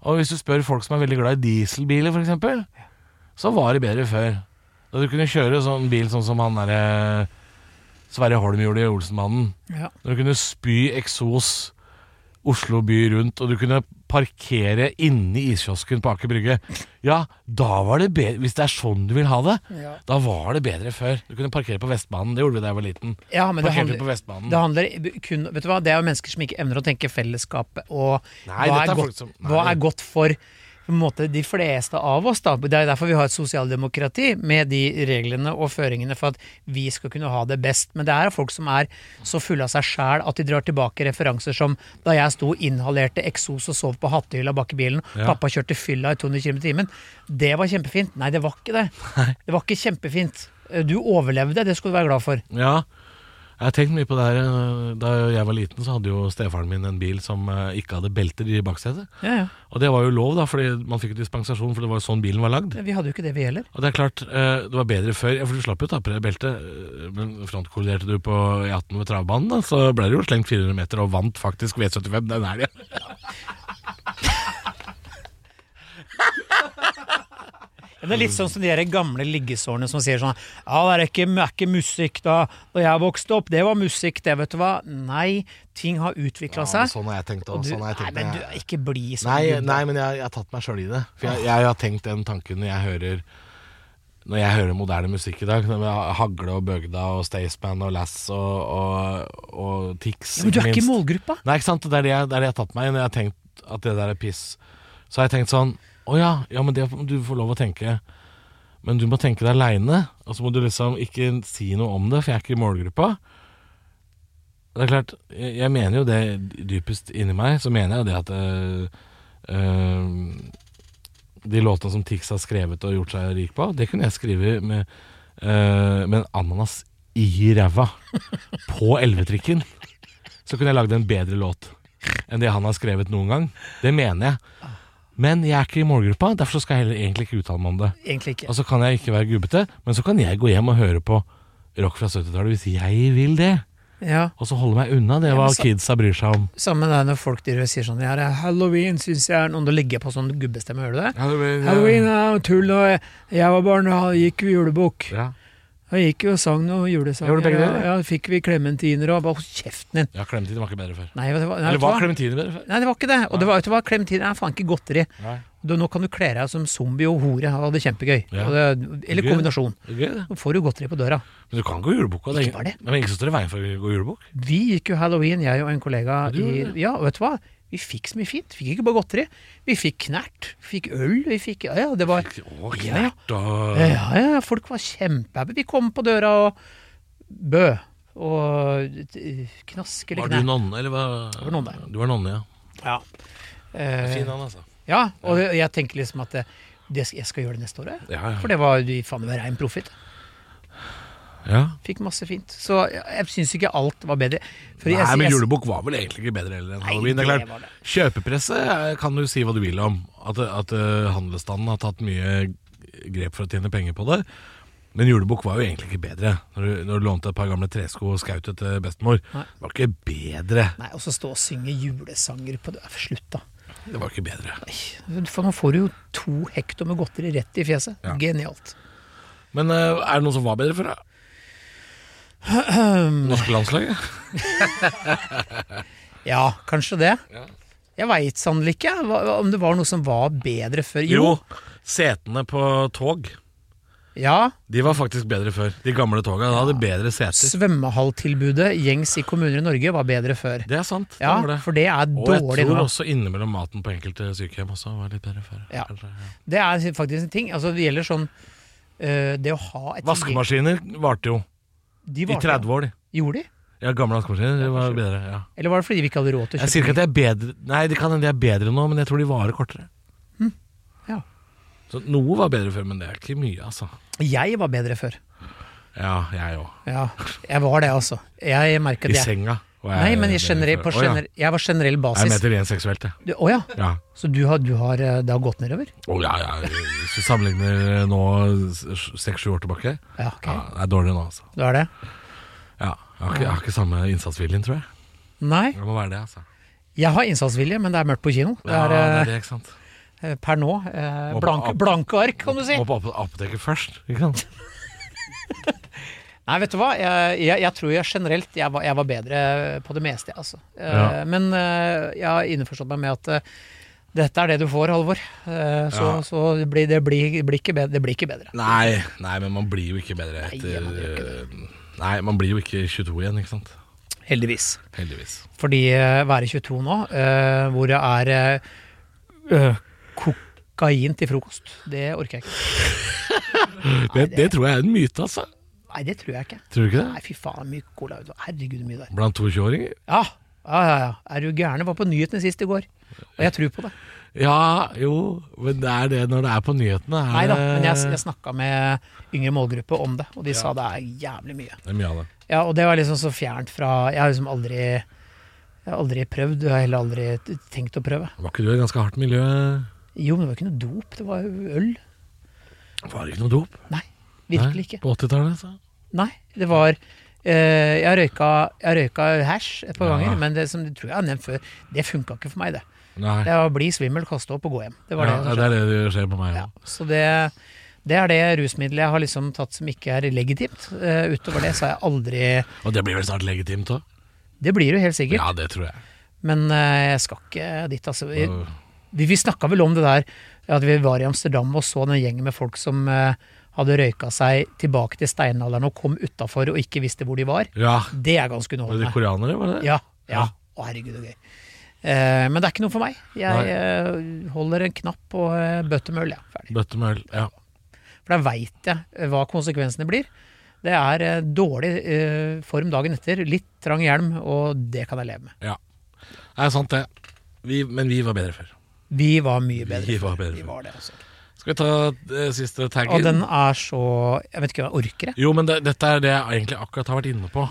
B: Og hvis du spør folk som er veldig glad i dieselbiler, f.eks., så var det bedre før. Da du kunne kjøre sånn bil sånn som han derre Sverre Holm gjorde i Olsenmannen.
C: Ja.
B: Når du kunne spy eksos Oslo by rundt, og du kunne parkere inne i iskiosken på Aker Brygge. Ja, da var det bedre Hvis det er sånn du vil ha det,
C: Ja.
B: da var det bedre før. Du kunne parkere på Vestbanen. Det gjorde vi da jeg var liten.
C: ja, men det
B: Parkerte på
C: handler,
B: Vestbanen.
C: det handler kun Vet du hva, det er jo mennesker som ikke evner å tenke fellesskap og
B: Nei,
C: hva,
B: dette
C: er
B: er folk
C: godt,
B: som-
C: hva
B: nei.
C: er godt for på en måte, de fleste av oss. Da. Det er derfor vi har et sosialdemokrati, med de reglene og føringene for at vi skal kunne ha det best. Men det er folk som er så fulle av seg sjæl at de drar tilbake referanser som da jeg sto og inhalerte eksos og sov på hattehylla bak i bilen,
B: Ja.
C: pappa kjørte fylla i 200 km i timen. Det var kjempefint. Nei, det var ikke det. Det var ikke kjempefint. Du overlevde, det skulle du være glad for.
B: Ja, jeg har tenkt mye på det her. eh, Da jeg var liten, så hadde jo stefaren min en bil som eh, ikke hadde belter i baksetet.
C: Ja, ja.
B: Og det var jo lov, da, fordi man fikk jo dispensasjon, for det var jo sånn bilen var lagd.
C: Vi hadde jo ikke det, vi heller.
B: Og det er klart, eh, det var bedre før. Ja, for du slapp jo å ta på deg beltet. eh, Men frontkolliderte du på E18 ved travbanen, da, så ble det jo slengt 400 meter og vant faktisk V75 den helga.
C: Ja, Det er litt sånn som de der gamle liggesårene som sier sånn Ja, det er ikke, er ikke musikk da Da jeg vokste opp, det var musikk, det, vet du hva. Nei, ting har utvikla seg.
B: sånn har jeg tenkt
C: og
B: òg.
C: du, nei, men du, ikke bli sånn.
B: Nei,
C: gubbe.
B: nei, men jeg, jeg har tatt meg sjøl i det. For jeg, jeg har tenkt den tanken når jeg hører Når jeg hører moderne musikk i dag. når jeg- Hagle og Bøgda og Staysman og Lass og, og, og Tix.
C: Ja, men du er ikke i
B: minst.
C: målgruppa.
B: Nei, ikke sant? Det er det jeg, det er det jeg har tatt meg i når jeg har tenkt at det der er piss. Så har jeg tenkt sånn Å ja, ja, men det du får lov å tenke. Men du må tenke det aleine, og så må du liksom ikke si noe om det, for jeg er ikke i målgruppa. Det er klart, jeg, jeg mener jo det dypest inni meg, så mener jeg jo det at eh, eh, De låtene som Tix har skrevet og gjort seg rik på, det kunne jeg skrive med, eh, med en ananas i ræva. På elvetrikken så kunne jeg lagd en bedre låt enn det han har skrevet noen gang. Det mener jeg. Men jeg er ikke i målgruppa, derfor så skal jeg heller egentlig ikke uttale meg om det.
C: Egentlig ikke.
B: Og så kan jeg ikke være gubbete, men så kan jeg gå hjem og høre på rock fra 70-tallet hvis jeg vil det.
C: Ja,
B: Og så holde meg unna det
C: Ja, men
B: hva
C: så-
B: kidsa bryr seg om.
C: Samme det når folk driver og sier sånn Ja, det er halloween syns jeg er noe Da ligger jeg på sånn gubbestemme, hører du det? Halloween er noe tull, og jeg, jeg var barn, og gikk vi julebukk.
B: Ja.
C: Da gikk vi og sang noen julesanger.
B: Gjorde du begge
C: ja,
B: deler?
C: ja, fikk vi klementiner og bare Hold kjeften din!
B: ja, Clementine var ikke bedre før.
C: Nei, vet du hva- nei, vet
B: Eller
C: du hva?
B: var Clementine bedre før?
C: Nei, det var ikke det. Og det var, vet du hva, klementiner er faen ikke godteri.
B: Nei.
C: Du, nå kan du kle deg som zombie og hore. og Det er kjempegøy.
B: Ja.
C: Og det,
B: Gøy,
C: eller
B: det.
C: kombinasjon.
B: Det er gøy, det.
C: Nå får du godteri på døra.
B: Men du kan gå julebukk. og Det, er
C: Ikke var det.
B: ingen- men ingen som står i veien for å gå julebukk.
C: Vi gikk jo halloween, jeg og en kollega
B: Ja, du
C: i
B: gjorde det.
C: Ja, og vet du hva? Vi fikk så mye fint. Fikk ikke bare godteri. Vi fikk knert. Vi fikk øl. Vi fikk Ja, ja, det var
B: Å,
C: Ja, Eh, ja.
B: knert og
C: Ja, ja, folk var kjempehappy. Vi kom på døra og Bø. Og eh, knask eller
B: Var du
C: knert.
B: nonne, eller hva?
C: var nonne.
B: Du var nonne, ja.
C: Ja. Eh,
B: Fin han, altså.
C: ja, og det- jeg tenker liksom at det, det, skal- jeg skal gjøre det neste året.
B: Ja, ja.
C: For det var faen meg rein profitt.
B: ja.
C: Fikk masse fint. Så jeg, jeg syns ikke alt var bedre. For
B: Nei,
C: jeg, jeg,
B: men julebukk var vel egentlig ikke bedre heller enn halloween. Det er
C: det var
B: klart, Kjøpepresse eh, kan du si hva du vil om. At, at eh, handelsstanden har tatt mye grep for å tjene penger på det. Men julebukk var jo egentlig ikke bedre. Når du, når du lånte et par gamle tresko og skaut etter bestemor.
C: Nei.
B: Det var ikke bedre.
C: Nei, og så stå og synge julesanger på døra. Slutt, da.
B: Det var ikke bedre.
C: Nei, For nå får du jo to hekto med godteri rett i fjeset.
B: Ja.
C: Genialt.
B: Men eh, er det noen som var bedre før, da? Norske landslaget?
C: Ja, kanskje det.
B: Ja.
C: Jeg veit sannelig ikke hva- om det var noe som var bedre før.
B: Jo, setene på tog.
C: Ja,
B: De var faktisk bedre før. De gamle toga da hadde bedre seter.
C: Svømmehalltilbudet gjengs i kommuner i Norge var bedre før.
B: Det er sant. Det
C: Ja,
B: var det.
C: for det er
B: Og jeg
C: dårlig
B: tror
C: nå.
B: også innimellom maten på enkelte sykehjem også var litt bedre før.
C: Ja.
B: Kanskje, ja.
C: Det er faktisk en ting. Altså, det gjelder sånn eh, Det å ha et
B: Vaskemaskiner varte jo
C: De
B: i
C: var-
B: 30 år, de.
C: Gjorde de?
B: Ja, gamle vaskemaskiner de var bedre. ja
C: Eller var det fordi vi ikke hadde råd til å
B: Jeg
C: kjøpe
B: sier ikke at de er bedre Nei, de kan hende de er bedre nå, men jeg tror de varer kortere.
C: ja.
B: Så noe var bedre før, men det er ikke mye, altså.
C: ny? Jeg var bedre før.
B: Ja, jeg òg.
C: Ja, jeg var det, altså. Jeg merka
B: I
C: det.
B: senga. var jeg
C: Nei, men i
B: bedre
C: generell,
B: før.
C: på
B: Å, ja.
C: gener, jeg var generell
B: Jeg er
C: basis.
B: meter 1 seksuelt, jeg.
C: Du- Å ja,
B: Ja.
C: så du har, du har eh, Det har gått nedover?
B: Å, ja, ja. Hvis du sammenligner eh, nå seks-sju år tilbake
C: Ja, ok.
B: ja, Det er dårligere nå, altså.
C: Du har det?
B: Ja. Jeg, har ikke, jeg har ikke samme innsatsviljen, tror jeg.
C: Nei.
B: Det må være det, altså.
C: Jeg har innsatsvilje, men det er mørkt på kino. Det
B: Ja,
C: er
B: det
C: eh,
B: er det, ikke sant.
C: Eh, per nå. Eh,
B: Må på
C: blanke,
B: ap-
C: blanke ark, kan du si.
B: Må på ap- apoteket først, ikke sant.
C: Nei, vet du hva. Jeg, jeg, jeg tror jeg generelt jeg var, jeg var bedre på det meste, jeg, altså. Eh,
B: Ja.
C: Men eh, jeg har innforstått meg med at eh, dette er det du får, Halvor. Eh, så
B: Ja.
C: så det, blir, det, blir, det, blir ikke bedre, det blir ikke bedre.
B: Nei, nei, men man blir jo ikke bedre
C: Nei,
B: etter
C: man gjør
B: eh, Nei, man blir jo ikke 22 igjen, ikke sant.
C: Heldigvis.
B: Heldigvis.
C: Fordi eh, være 22 nå, eh, hvor det er eh, ø, kokain til frokost, det orker jeg ikke.
B: Det, det tror jeg er en myte, altså.
C: Nei, det tror jeg ikke.
B: Tror du ikke det?
C: Nei, fy faen, mye cola. vet du. Herregud, mye der.
B: Blant 22-åringer?
C: Ja, ja, ja, ja. Er du gæren? Jeg var på nyhetene sist i går. Og jeg tror på det.
B: Ja, jo, men det er det når det er på nyhetene. Er
C: Nei da, men jeg,
B: det-
C: jeg snakka med yngre målgruppe om det, og de sa det er jævlig mye.
B: Det er mye av det.
C: Ja, og det var liksom så fjernt fra Jeg har liksom aldri Jeg har aldri prøvd, og jeg har heller aldri t- tenkt å prøve.
B: Var ikke du i et ganske hardt miljø?
C: Jo, men det var ikke noe dop, det var jo øl.
B: Var det ikke noe dop?
C: Nei, virkelig
B: Nei,
C: ikke.
B: På altså. 80-tallet, så.
C: Nei, det var eh, jeg røyka, jeg røyka hasj et par
B: Ja.
C: ganger, men det som det tror jeg jeg har nevnt før, det funka ikke for meg, det.
B: Nei.
C: Det var å bli svimmel, kaste opp og gå hjem. Det var
B: ja,
C: det som
B: det,
C: skjedde.
B: er det som skjer på meg
C: Ja,
B: òg.
C: så det, det er det rusmiddelet jeg har liksom tatt som ikke er legitimt. Eh, utover det så har jeg aldri
B: Og det blir vel snart legitimt òg?
C: Det blir jo helt sikkert,
B: Ja, det tror jeg.
C: men eh, jeg skal ikke dit, altså. Vi, vi snakka vel om det der at vi var i Amsterdam og så den gjengen med folk som eh, hadde røyka seg tilbake til steinalderen og kom utafor og ikke visste hvor de var.
B: Ja.
C: Det er ganske
B: Var det
C: underholdende.
B: koreanere, var det det?
C: Ja, ja.
B: Ja.
C: Å, herregud, det er gøy. Eh, men det er ikke noe for meg. Jeg
B: Nei.
C: eh, holder en knapp på uh, bøtte med øl, jeg. Ferdig.
B: Bøtte med øl. Ja.
C: For da veit jeg eh, hva konsekvensene blir. Det er eh, dårlig eh, form dagen etter, litt trang hjelm, og det kan jeg leve med.
B: ja. Det er sant, det. Vi, men vi var bedre før.
C: Vi var mye bedre.
B: Vi
C: før.
B: var bedre
C: Vi
B: før.
C: var det, altså.
B: Skal vi ta eh, siste taggen?
C: Og den er så Jeg vet ikke om jeg orker, jeg.
B: Jo, men det, dette er det jeg egentlig akkurat har vært inne på.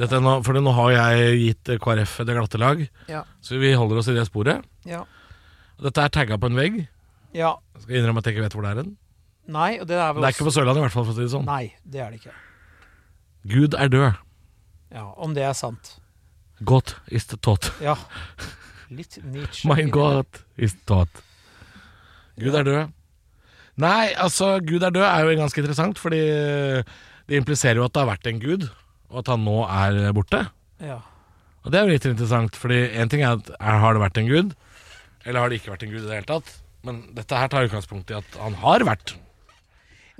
B: Dette er nå, for nå har jeg gitt eh, KrF det glatte lag,
C: Ja.
B: så vi holder oss i det sporet.
C: Ja.
B: Dette er tagga på en vegg.
C: ja.
B: Jeg skal innrømme at jeg ikke vet hvor det er hen.
C: Nei, og det er
B: Det er ikke på Sørlandet, i hvert fall. for å si det sånn
C: Nei, det er det ikke.
B: Gud er død.
C: Ja, Om det er sant.
B: God is the thought.
C: Ja. Litt Nietzsche.
B: Mein God is thought. Gud er død. Nei, altså, Gud er død er jo ganske interessant, fordi det impliserer jo at det har vært en gud, og at han nå er borte.
C: Ja.
B: Og det er jo litt interessant, fordi en ting er at er, har det vært en gud, eller har det ikke vært en gud i det hele tatt? Men dette her tar utgangspunkt i at han har vært.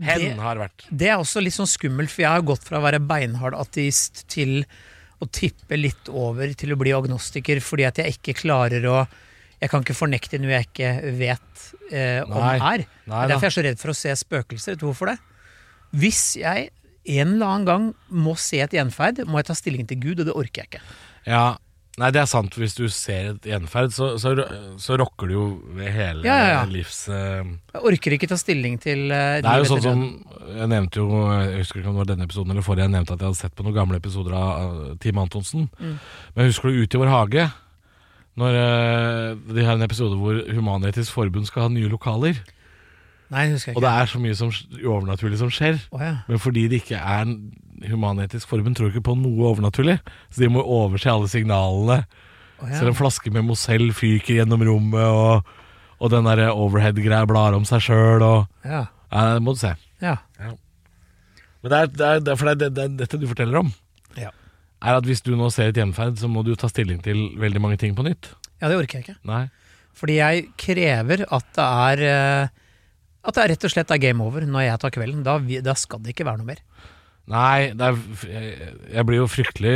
B: Hen
C: Det-
B: har vært.
C: Det er også litt sånn skummelt, for jeg har gått fra å være beinhard ateist til å tippe litt over til å bli agnostiker fordi at jeg ikke klarer å Jeg kan ikke fornekte noe jeg ikke vet eh, om
B: Nei.
C: er. Det
B: Nei da.
C: er derfor jeg er så redd for å se spøkelser. Vet du hvorfor det? Hvis jeg en eller annen gang må se et gjenferd, må jeg ta stilling til Gud, og det orker jeg ikke.
B: Ja, nei, det er sant. Hvis du ser et gjenferd, så, så, så rocker du jo ved hele
C: Ja, ja, ja.
B: livs... eh,
C: Jeg orker ikke ta stilling til
B: Det
C: eh,
B: er jo
C: livet
B: sånn
C: etter
B: som
C: døden.
B: Jeg nevnte jo Jeg husker ikke om det var denne episoden eller forrige, jeg nevnte at jeg hadde sett på noen gamle episoder av uh, Team Antonsen.
C: Mm.
B: Men husker du Ut i vår hage? Når eh, De har en episode hvor Human-Etisk Forbund skal ha nye lokaler.
C: Nei, det husker jeg
B: Og det
C: ikke.
B: er så mye som, overnaturlig som skjer.
C: Å, ja.
B: Men fordi det ikke er en human-etisk forbund, tror ikke på noe overnaturlig. Så de må overse alle signalene.
C: Å, ja.
B: Selv en flaske med Mozell fyker gjennom rommet, og, og den der overhead-greia blar om seg sjøl og
C: Ja.
B: Nei, det må du se.
C: Ja.
B: Ja. Men det er, det er, det er, for det er, det er dette du forteller om.
C: Ja.
B: Er at hvis du nå ser et gjenferd, så må du ta stilling til veldig mange ting på nytt.
C: Ja, det orker jeg ikke.
B: Nei.
C: Fordi jeg krever at det er eh, At det er rett og slett er game over når jeg tar kvelden. Da, vi- da skal det ikke være noe mer.
B: Nei, det er, jeg, jeg blir jo fryktelig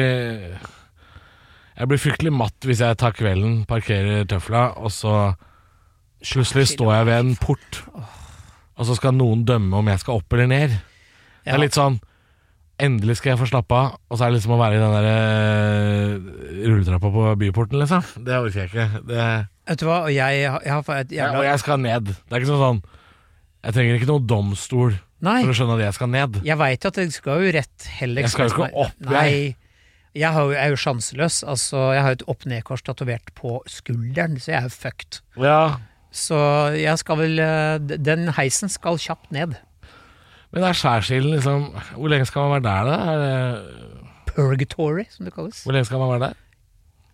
B: Jeg blir fryktelig matt hvis jeg tar kvelden, parkerer tøfla, og så slutselig står jeg ved en port, og så skal noen dømme om jeg skal opp eller ned. Det
C: Ja.
B: er litt sånn Endelig skal jeg få slappe av, og så er det liksom å være i den der eh, rulletrappa på byporten, liksom. Det orker jeg ikke. Det,
C: Vet du hva, og jeg, har- jeg har fa- et
B: jeg, og
C: jævla
B: jeg skal ned. Det er ikke sånn sånn Jeg trenger ikke noen domstol for
C: Nei,
B: å skjønne at jeg skal ned.
C: jeg veit jo at det skal jo rett heller
B: Jeg skal jo ikke opp, jeg.
C: Nei. Jeg har jo, jeg er jo sjanseløs. Altså, jeg har jo et opp-ned-kors tatovert på skulderen, så jeg er jo fucked.
B: Ja,
C: Så jeg skal vel eh, d- Den heisen skal kjapt ned.
B: Men det er skjærsilden, liksom. Hvor lenge skal man være der, da? Er det,
C: Purgatory, som det kalles.
B: hvor lenge skal man være der?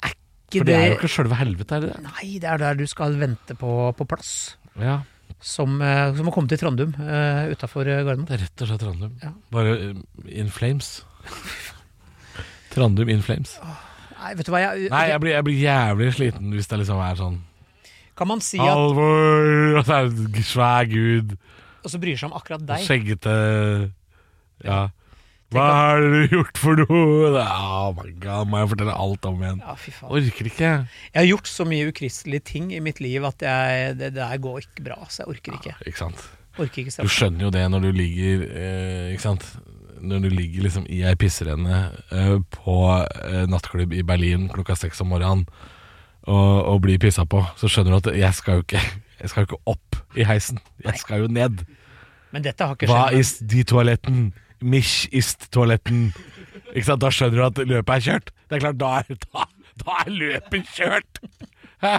C: Ikke
B: For det er jo ikke sjølve helvete, er det det?
C: Nei, det er der du skal vente på, på plass.
B: Ja,
C: Som, eh, som å komme til Trondheim uh, utafor Gardermoen.
B: det er rett og slett Trandum.
C: Ja.
B: Bare um, in flames. Trandum in flames.
C: Nei, vet du hva, jeg,
B: Nei, jeg blir, jeg blir jævlig sliten hvis det liksom er sånn
C: kan man si at
B: Alvor! Og så er det en svær gud.
C: Og så bryr seg om akkurat
B: og
C: deg.
B: Skjeggete Ja.
C: Tenk
B: Hva
C: at-
B: har du gjort for noe? Det- Oh my god, må jeg fortelle alt om igjen?
C: Ja, fy faen.
B: Orker ikke.
C: Jeg har gjort så mye ukristelige ting i mitt liv at jeg, det, det her går ikke bra. Så jeg orker ikke.
B: Ikke sant.
C: Orker ikke
B: Ah. Du
C: straff.
B: skjønner jo det når du ligger eh, Ikke sant? Når du ligger liksom i ei pisserenne eh, på eh, nattklubb i Berlin klokka seks om morgenen og, og blir pissa på, så skjønner du at jeg skal jo ikke Jeg skal jo ikke opp i heisen. Jeg skal jo ned.
C: Men dette har ikke
B: Hva
C: skjedd.
B: ist die toaletten? Mich ist toaletten. Ikke sant? Da skjønner du at løpet er kjørt. Det er klart, da er, da, da er løpet kjørt! Hæ?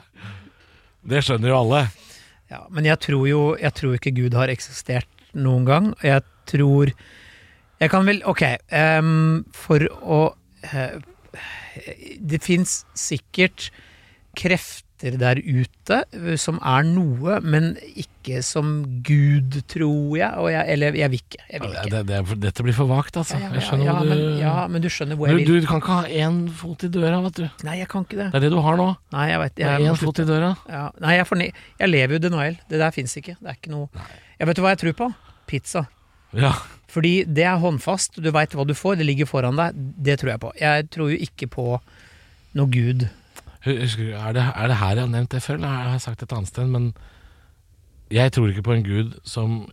B: Det skjønner jo alle.
C: Ja, men jeg tror jo jeg tror ikke Gud har eksistert noen gang. og Jeg tror Jeg kan vel Ok, em, for å eh, Det fins sikkert krefter der ute eh, som er noe, men ikke som Gud, tror jeg. Og jeg eller jeg vil ikke. Jeg vil
B: Ja,
C: ikke.
B: Det, det, er for- dette blir for vagt, altså.
C: Ja, ja,
B: Jeg skjønner
C: ja,
B: hva
C: men,
B: du
C: ja, men du skjønner hvor
B: du,
C: jeg vil.
B: du kan ikke ha én fot i døra, vet du.
C: Nei, jeg kan ikke det.
B: Det er det du har nå.
C: Nei, jeg vet,
B: Det er
C: jeg, må
B: Én
C: slutte.
B: fot i døra.
C: ja. Nei, jeg, forne- jeg lever jo i denial. Det der fins ikke. Det er ikke noe Jeg vet du hva jeg tror på? Pizza.
B: Ja.
C: Fordi det er håndfast, du veit hva du får, det ligger foran deg. Det tror jeg på. Jeg tror jo ikke på noe gud.
B: Husker, du, er, det, er det her jeg har nevnt det før, eller har jeg sagt det et annet sted? Men jeg tror ikke på en gud som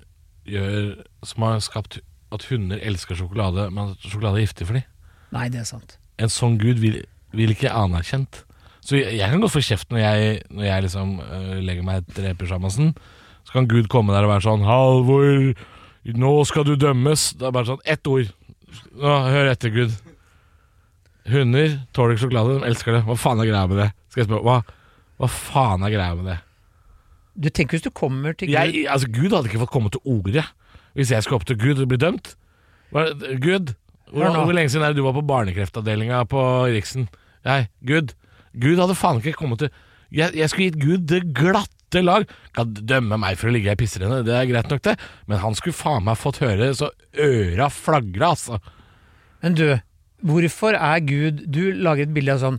B: gjør Som har skapt at hunder elsker sjokolade, men at sjokolade er giftig for dem.
C: Nei, det er sant.
B: En sånn gud vil, vil ikke anerkjent. Så jeg, jeg kan godt få kjeft når jeg, når jeg liksom øh, legger meg etter pyjamasen. Så kan Gud komme der og være sånn 'Halvor, nå skal du dømmes.' Det er bare sånn ett ord. Nå, Hør etter, Gud. Hunder tåler ikke sjokolade, de elsker det. Hva faen er greia med det? Skal jeg spørre, hva, hva faen er greia med det?
C: Du tenker hvis du kommer til Gud
B: Jeg, altså, Gud hadde ikke fått komme til ordet hvis jeg skulle opp til Gud og bli dømt. Hva, Gud, hvor,
C: Hør nå.
B: hvor lenge siden er det du var på barnekreftavdelinga på Riksen? Nei, Gud. Gud hadde faen ikke kommet til Jeg, jeg skulle gitt Gud det glatte lag. Kan dømme meg for å ligge i ei pisserenne, det er greit nok, det. Men han skulle faen meg fått høre så øra flagra, altså.
C: Men du, hvorfor er Gud Du lager et bilde av sånn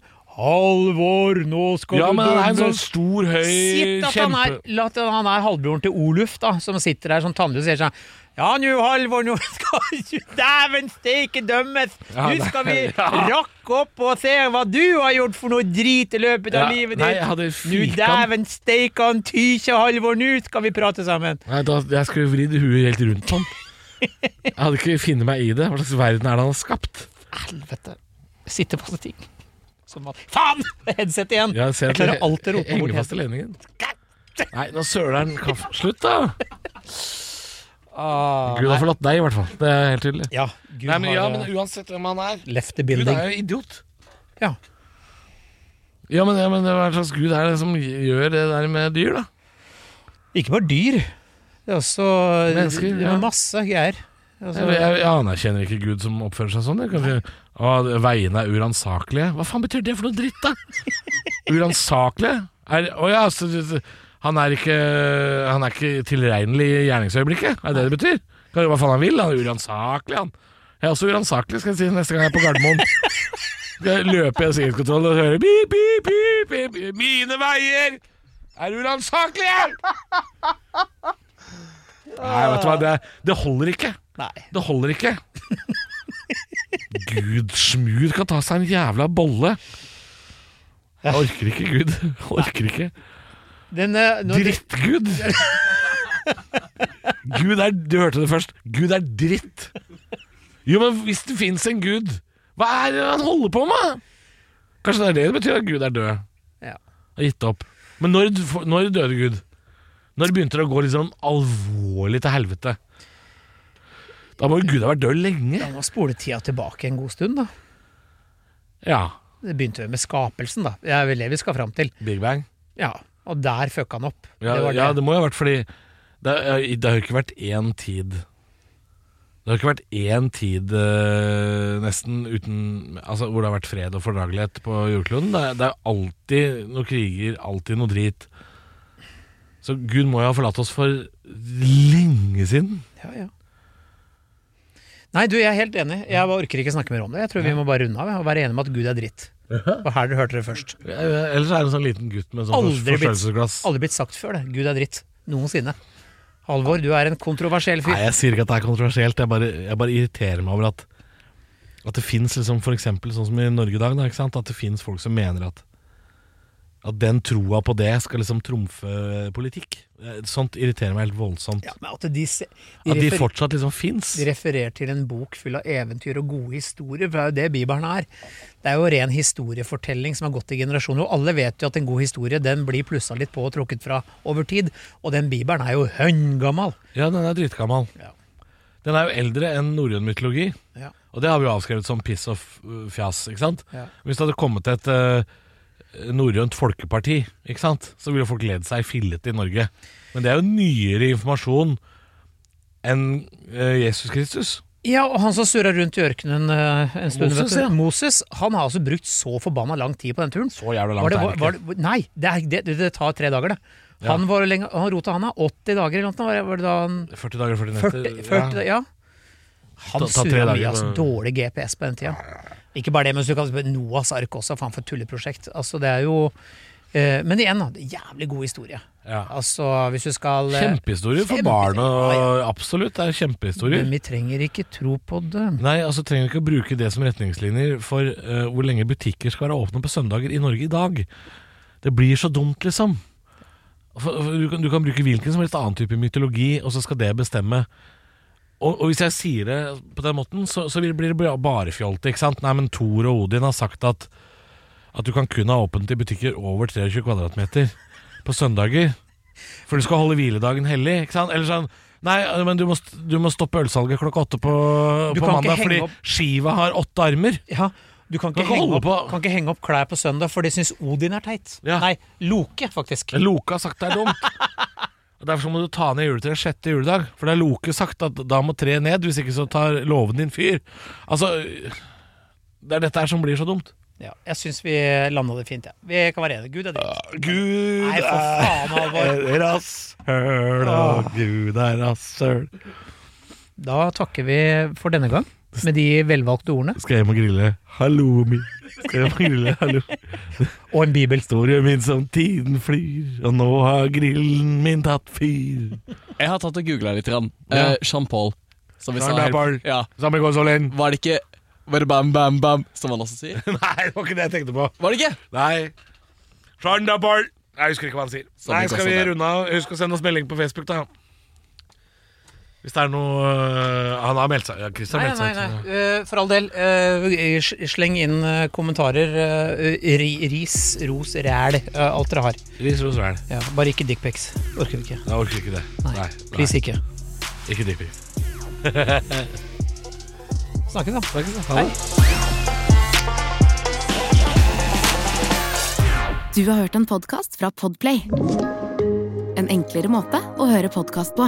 C: Halvor, nå skal
B: Ja,
C: du
B: men han er en sånn
C: dømmes.
B: stor, høy
C: Sitt at han er,
B: kjempe...
C: la at han er halvbroren til Oluf, da, som sitter der som tannløs og sier sånn Ja, nu Halvor, nå skal *laughs* du dæven steike dømmes!
B: *laughs* Ja,
C: Nå skal vi
B: det-
C: rakke opp og se hva du har gjort for noe drit i løpet av
B: Ja,
C: livet
B: nei,
C: ditt!
B: jeg hadde
C: Nu
B: fikan.
C: dæven steikan tykje, Halvor, nå skal vi prate sammen!
B: Nei, da, jeg skulle vridd huet helt rundt på han. Jeg hadde ikke funnet meg i det. Hva slags verden er det han har skapt?
C: Helvete. Jeg sitter fast i ting. Som at Faen! Headset igjen!
B: Jeg, ser
C: Jeg klarer
B: at
C: alltid å rote
B: henger
C: bort
B: fast i ledningen. Nei, nå søler han kaffe. Slutt, da!
C: Ah,
B: Gud har
C: nei.
B: forlatt deg, i hvert fall. Det er helt tydelig.
C: Ja, Gud
B: Nei, men, ja,
C: har
B: men
C: eh,
B: uansett hvem han er
C: left the
B: Gud
C: building.
B: er jo idiot.
C: Ja.
B: Ja, men, ja, men hva slags gud er det som gjør det der med dyr, da?
C: Ikke bare dyr. Det er også eh,
B: Mennesker,
C: det er
B: ja.
C: masse greier. Altså,
B: Jeg, jeg, jeg anerkjenner ikke Gud som oppfører seg sånn. jeg. Kanskje, å, veiene er uransakelige. Hva faen betyr det for noe dritt, da? Uransakelige? Er- Å ja, så, så- så, han er ikke Han er ikke tilregnelig i gjerningsøyeblikket? Er det det det betyr? Kan gjøre hva faen han vil. Han er uransakelig, han. Jeg er også uransakelig, skal jeg si, neste gang jeg er på Gardermoen. Skal jeg løpe i sikkerhetskontrollen og høre pip, pip, pip, pip, mine veier er uransakelige! Nei, vet du hva, det, det holder ikke.
C: Nei.
B: Det holder ikke. Gud smud kan ta seg en jævla bolle. Jeg orker ikke, Gud. Jeg orker ikke.
C: Den, eh, nå,
B: Drittgud! Gud er Du hørte det først. Gud er dritt. Jo, men hvis det fins en gud, hva er det han holder på med? Kanskje det er det det betyr at Gud er død?
C: Ja.
B: Har gitt opp. Men når, når døde Gud? Når begynte det å gå litt sånn alvorlig til helvete? Da må jo Gud ha vært død lenge.
C: da må spole tida tilbake en god stund, da.
B: Ja.
C: Det begynte jo med skapelsen, da. Det er vel det vi skal fram til.
B: Big Bang.
C: Ja, Og der fucka han opp.
B: Ja,
C: det
B: det,
C: var det.
B: ja, det må jo ha vært fordi Det, er- det har jo ikke vært én tid Det har jo ikke vært én tid eh, nesten uten Altså hvor det har vært fred og fordragelighet på jordkloden. Det er, det er alltid noen kriger, alltid noe drit. Så Gud må jo ha forlatt oss for lenge siden.
C: Ja, ja. Nei, du, jeg er helt enig. Jeg bare orker ikke snakke mer om det. Jeg tror vi må bare runde av jeg, og være enige om at Gud er dritt. Og her dere hørte det først.
B: Eh, Ellers er det en sånn liten gutt med sånn
C: Aldri blitt-
B: forstørrelsesglass.
C: Aldri blitt sagt før, det. Gud er dritt. Noensinne. Halvor, du er en kontroversiell
B: Nei,
C: fyr.
B: jeg sier ikke at det er kontroversielt. Jeg bare, jeg bare irriterer meg over at At det fins liksom for eksempel sånn som i Norge i dag, da, ikke sant? at det fins folk som mener at At den troa på det skal liksom trumfe politikk. Eh, Sånt irriterer meg helt voldsomt.
C: Ja, men at de, se,
B: At
C: de,
B: de
C: refer,
B: fortsatt liksom fins.
C: de refererer til en bok full av eventyr og gode historier, for det er jo det Bibelen er. Det er jo ren historiefortelling som har gått i generasjoner, og alle vet jo at en god historie den blir plussa litt på og trukket fra over tid, og den Bibelen er jo høngammal.
B: Ja, den er dritgammal.
C: Ja.
B: Den er jo eldre enn norrøn mytologi.
C: Ja.
B: Og det har vi jo avskrevet som piss og f- fjas, ikke sant?
C: Ja.
B: Hvis det hadde kommet et uh, norrønt folkeparti, ikke sant? så ville folk ledd seg fillete i Norge. Men det er jo nyere informasjon enn eh, Jesus Kristus.
C: Ja, og han som surra rundt i ørkenen eh, en stund,
B: Moses,
C: Moses, vet
B: ja.
C: du. Moses han har altså brukt så forbanna lang tid på den turen.
B: Så jævla langt
C: Var det,
B: er
C: var,
B: det
C: var
B: ikke.
C: det, nei, det, er, det, det tar tre dager, det.
B: Ja.
C: Han, var lenge, han rota han av 80 dager eller noe, var det, var det da han
B: 40 dager, 40 netter.
C: 40, 40 ja.
B: Ta-
C: Han
B: ta tre
C: surra
B: dager
C: mye,
B: på-
C: altså. Dårlig GPS på den tida. Ikke bare det, men hvis du kan Noahs ark også, faen for et tulleprosjekt. Altså, det er jo eh, Men igjen, da, det er jævlig god historie.
B: Ja.
C: Altså, hvis du skal eh,
B: Kjempehistorie for
C: Kjempe-
B: barn. Og,
C: Ja,
B: Absolutt, det er kjempehistorie.
C: Men vi trenger ikke tro på det.
B: Nei, altså trenger vi ikke å bruke det som retningslinjer for eh, hvor lenge butikker skal være åpne på søndager i Norge i dag. Det blir så dumt, liksom. For, for, du, kan, du kan bruke hvilken som helst annen type mytologi, og så skal det bestemme. Og, og hvis jeg sier det på den måten, så, så blir det blir bare fjolte, ikke sant? Nei, men Thor og Odin har sagt at, at du kan kun ha åpent i butikker over 23 kvadratmeter på søndager. For du skal holde hviledagen hellig, ikke sant? Eller sånn Nei, men du må, st- du må stoppe ølsalget klokka åtte på,
C: Du
B: på
C: kan ikke
B: mandag
C: henge
B: fordi
C: opp-
B: Shiva har åtte armer.
C: Ja, du kan
B: Du kan
C: ikke,
B: ikke
C: henge
B: holde
C: opp,
B: på-
C: kan ikke henge opp klær på søndag, for de syns Odin er teit.
B: Ja.
C: Nei, Loke, faktisk.
B: Loke har sagt det er dumt. Og Derfor så må du ta ned juletreet sjette juledag. For det er Loke sagt at da må treet ned, hvis ikke så tar låven din fyr. Altså Det er dette her som blir så dumt.
C: Ja, jeg syns vi landa det fint, jeg. Vi kan være enige. Gud er dritt.
B: Gud
C: Nei, for faen, Halvor.
B: er rasshøl, og Gud er rasshøl.
C: Da takker vi for denne gang, med de velvalgte ordene.
B: Skal jeg hjem og grille halloumi? Skal jeg hjem og grille halloumi?
C: Og en bibel.
B: Historien min som tiden flyr, og nå har grillen min tatt fyr.
D: Jeg har tatt og googla litt. grann.
B: Ja.
D: Eh, Jean Paul. Som vi sa
B: Jean
D: helt-
B: Paul.
D: Ja.
B: Samme konsolen.
D: Var det ikke Var det bam, bam, bam, som han også sier?
B: *laughs* Nei, det var ikke det jeg tenkte på.
D: Var det ikke?
B: Nei. Shandapol. Jeg husker ikke hva han sier.
D: Sånn
B: Nei,
D: ikke
B: skal
D: også
B: vi
D: det.
B: runde av? Husk å sende oss melding på Facebook, da. Hvis det er noe øh, Han har meldt seg. Ja, Chris har
C: Nei,
B: meldt
C: nei,
B: seg.
C: nei.
B: ut.
C: eh, For all del, eh, s- sleng inn eh, kommentarer. eh, ri- Ris, ros, ræl. eh, Alt dere har.
B: Ris ros vel.
C: Ja, bare ikke dickpics. Orker vi ikke.
B: Jeg orker ikke det.
C: Nei,
B: Nei, nei.
C: please ikke.
B: Ikke dickpic.
C: Snakkes, da.
B: Ha det.
A: Du har hørt en podcast fra Podplay En enklere måte å høre podcast på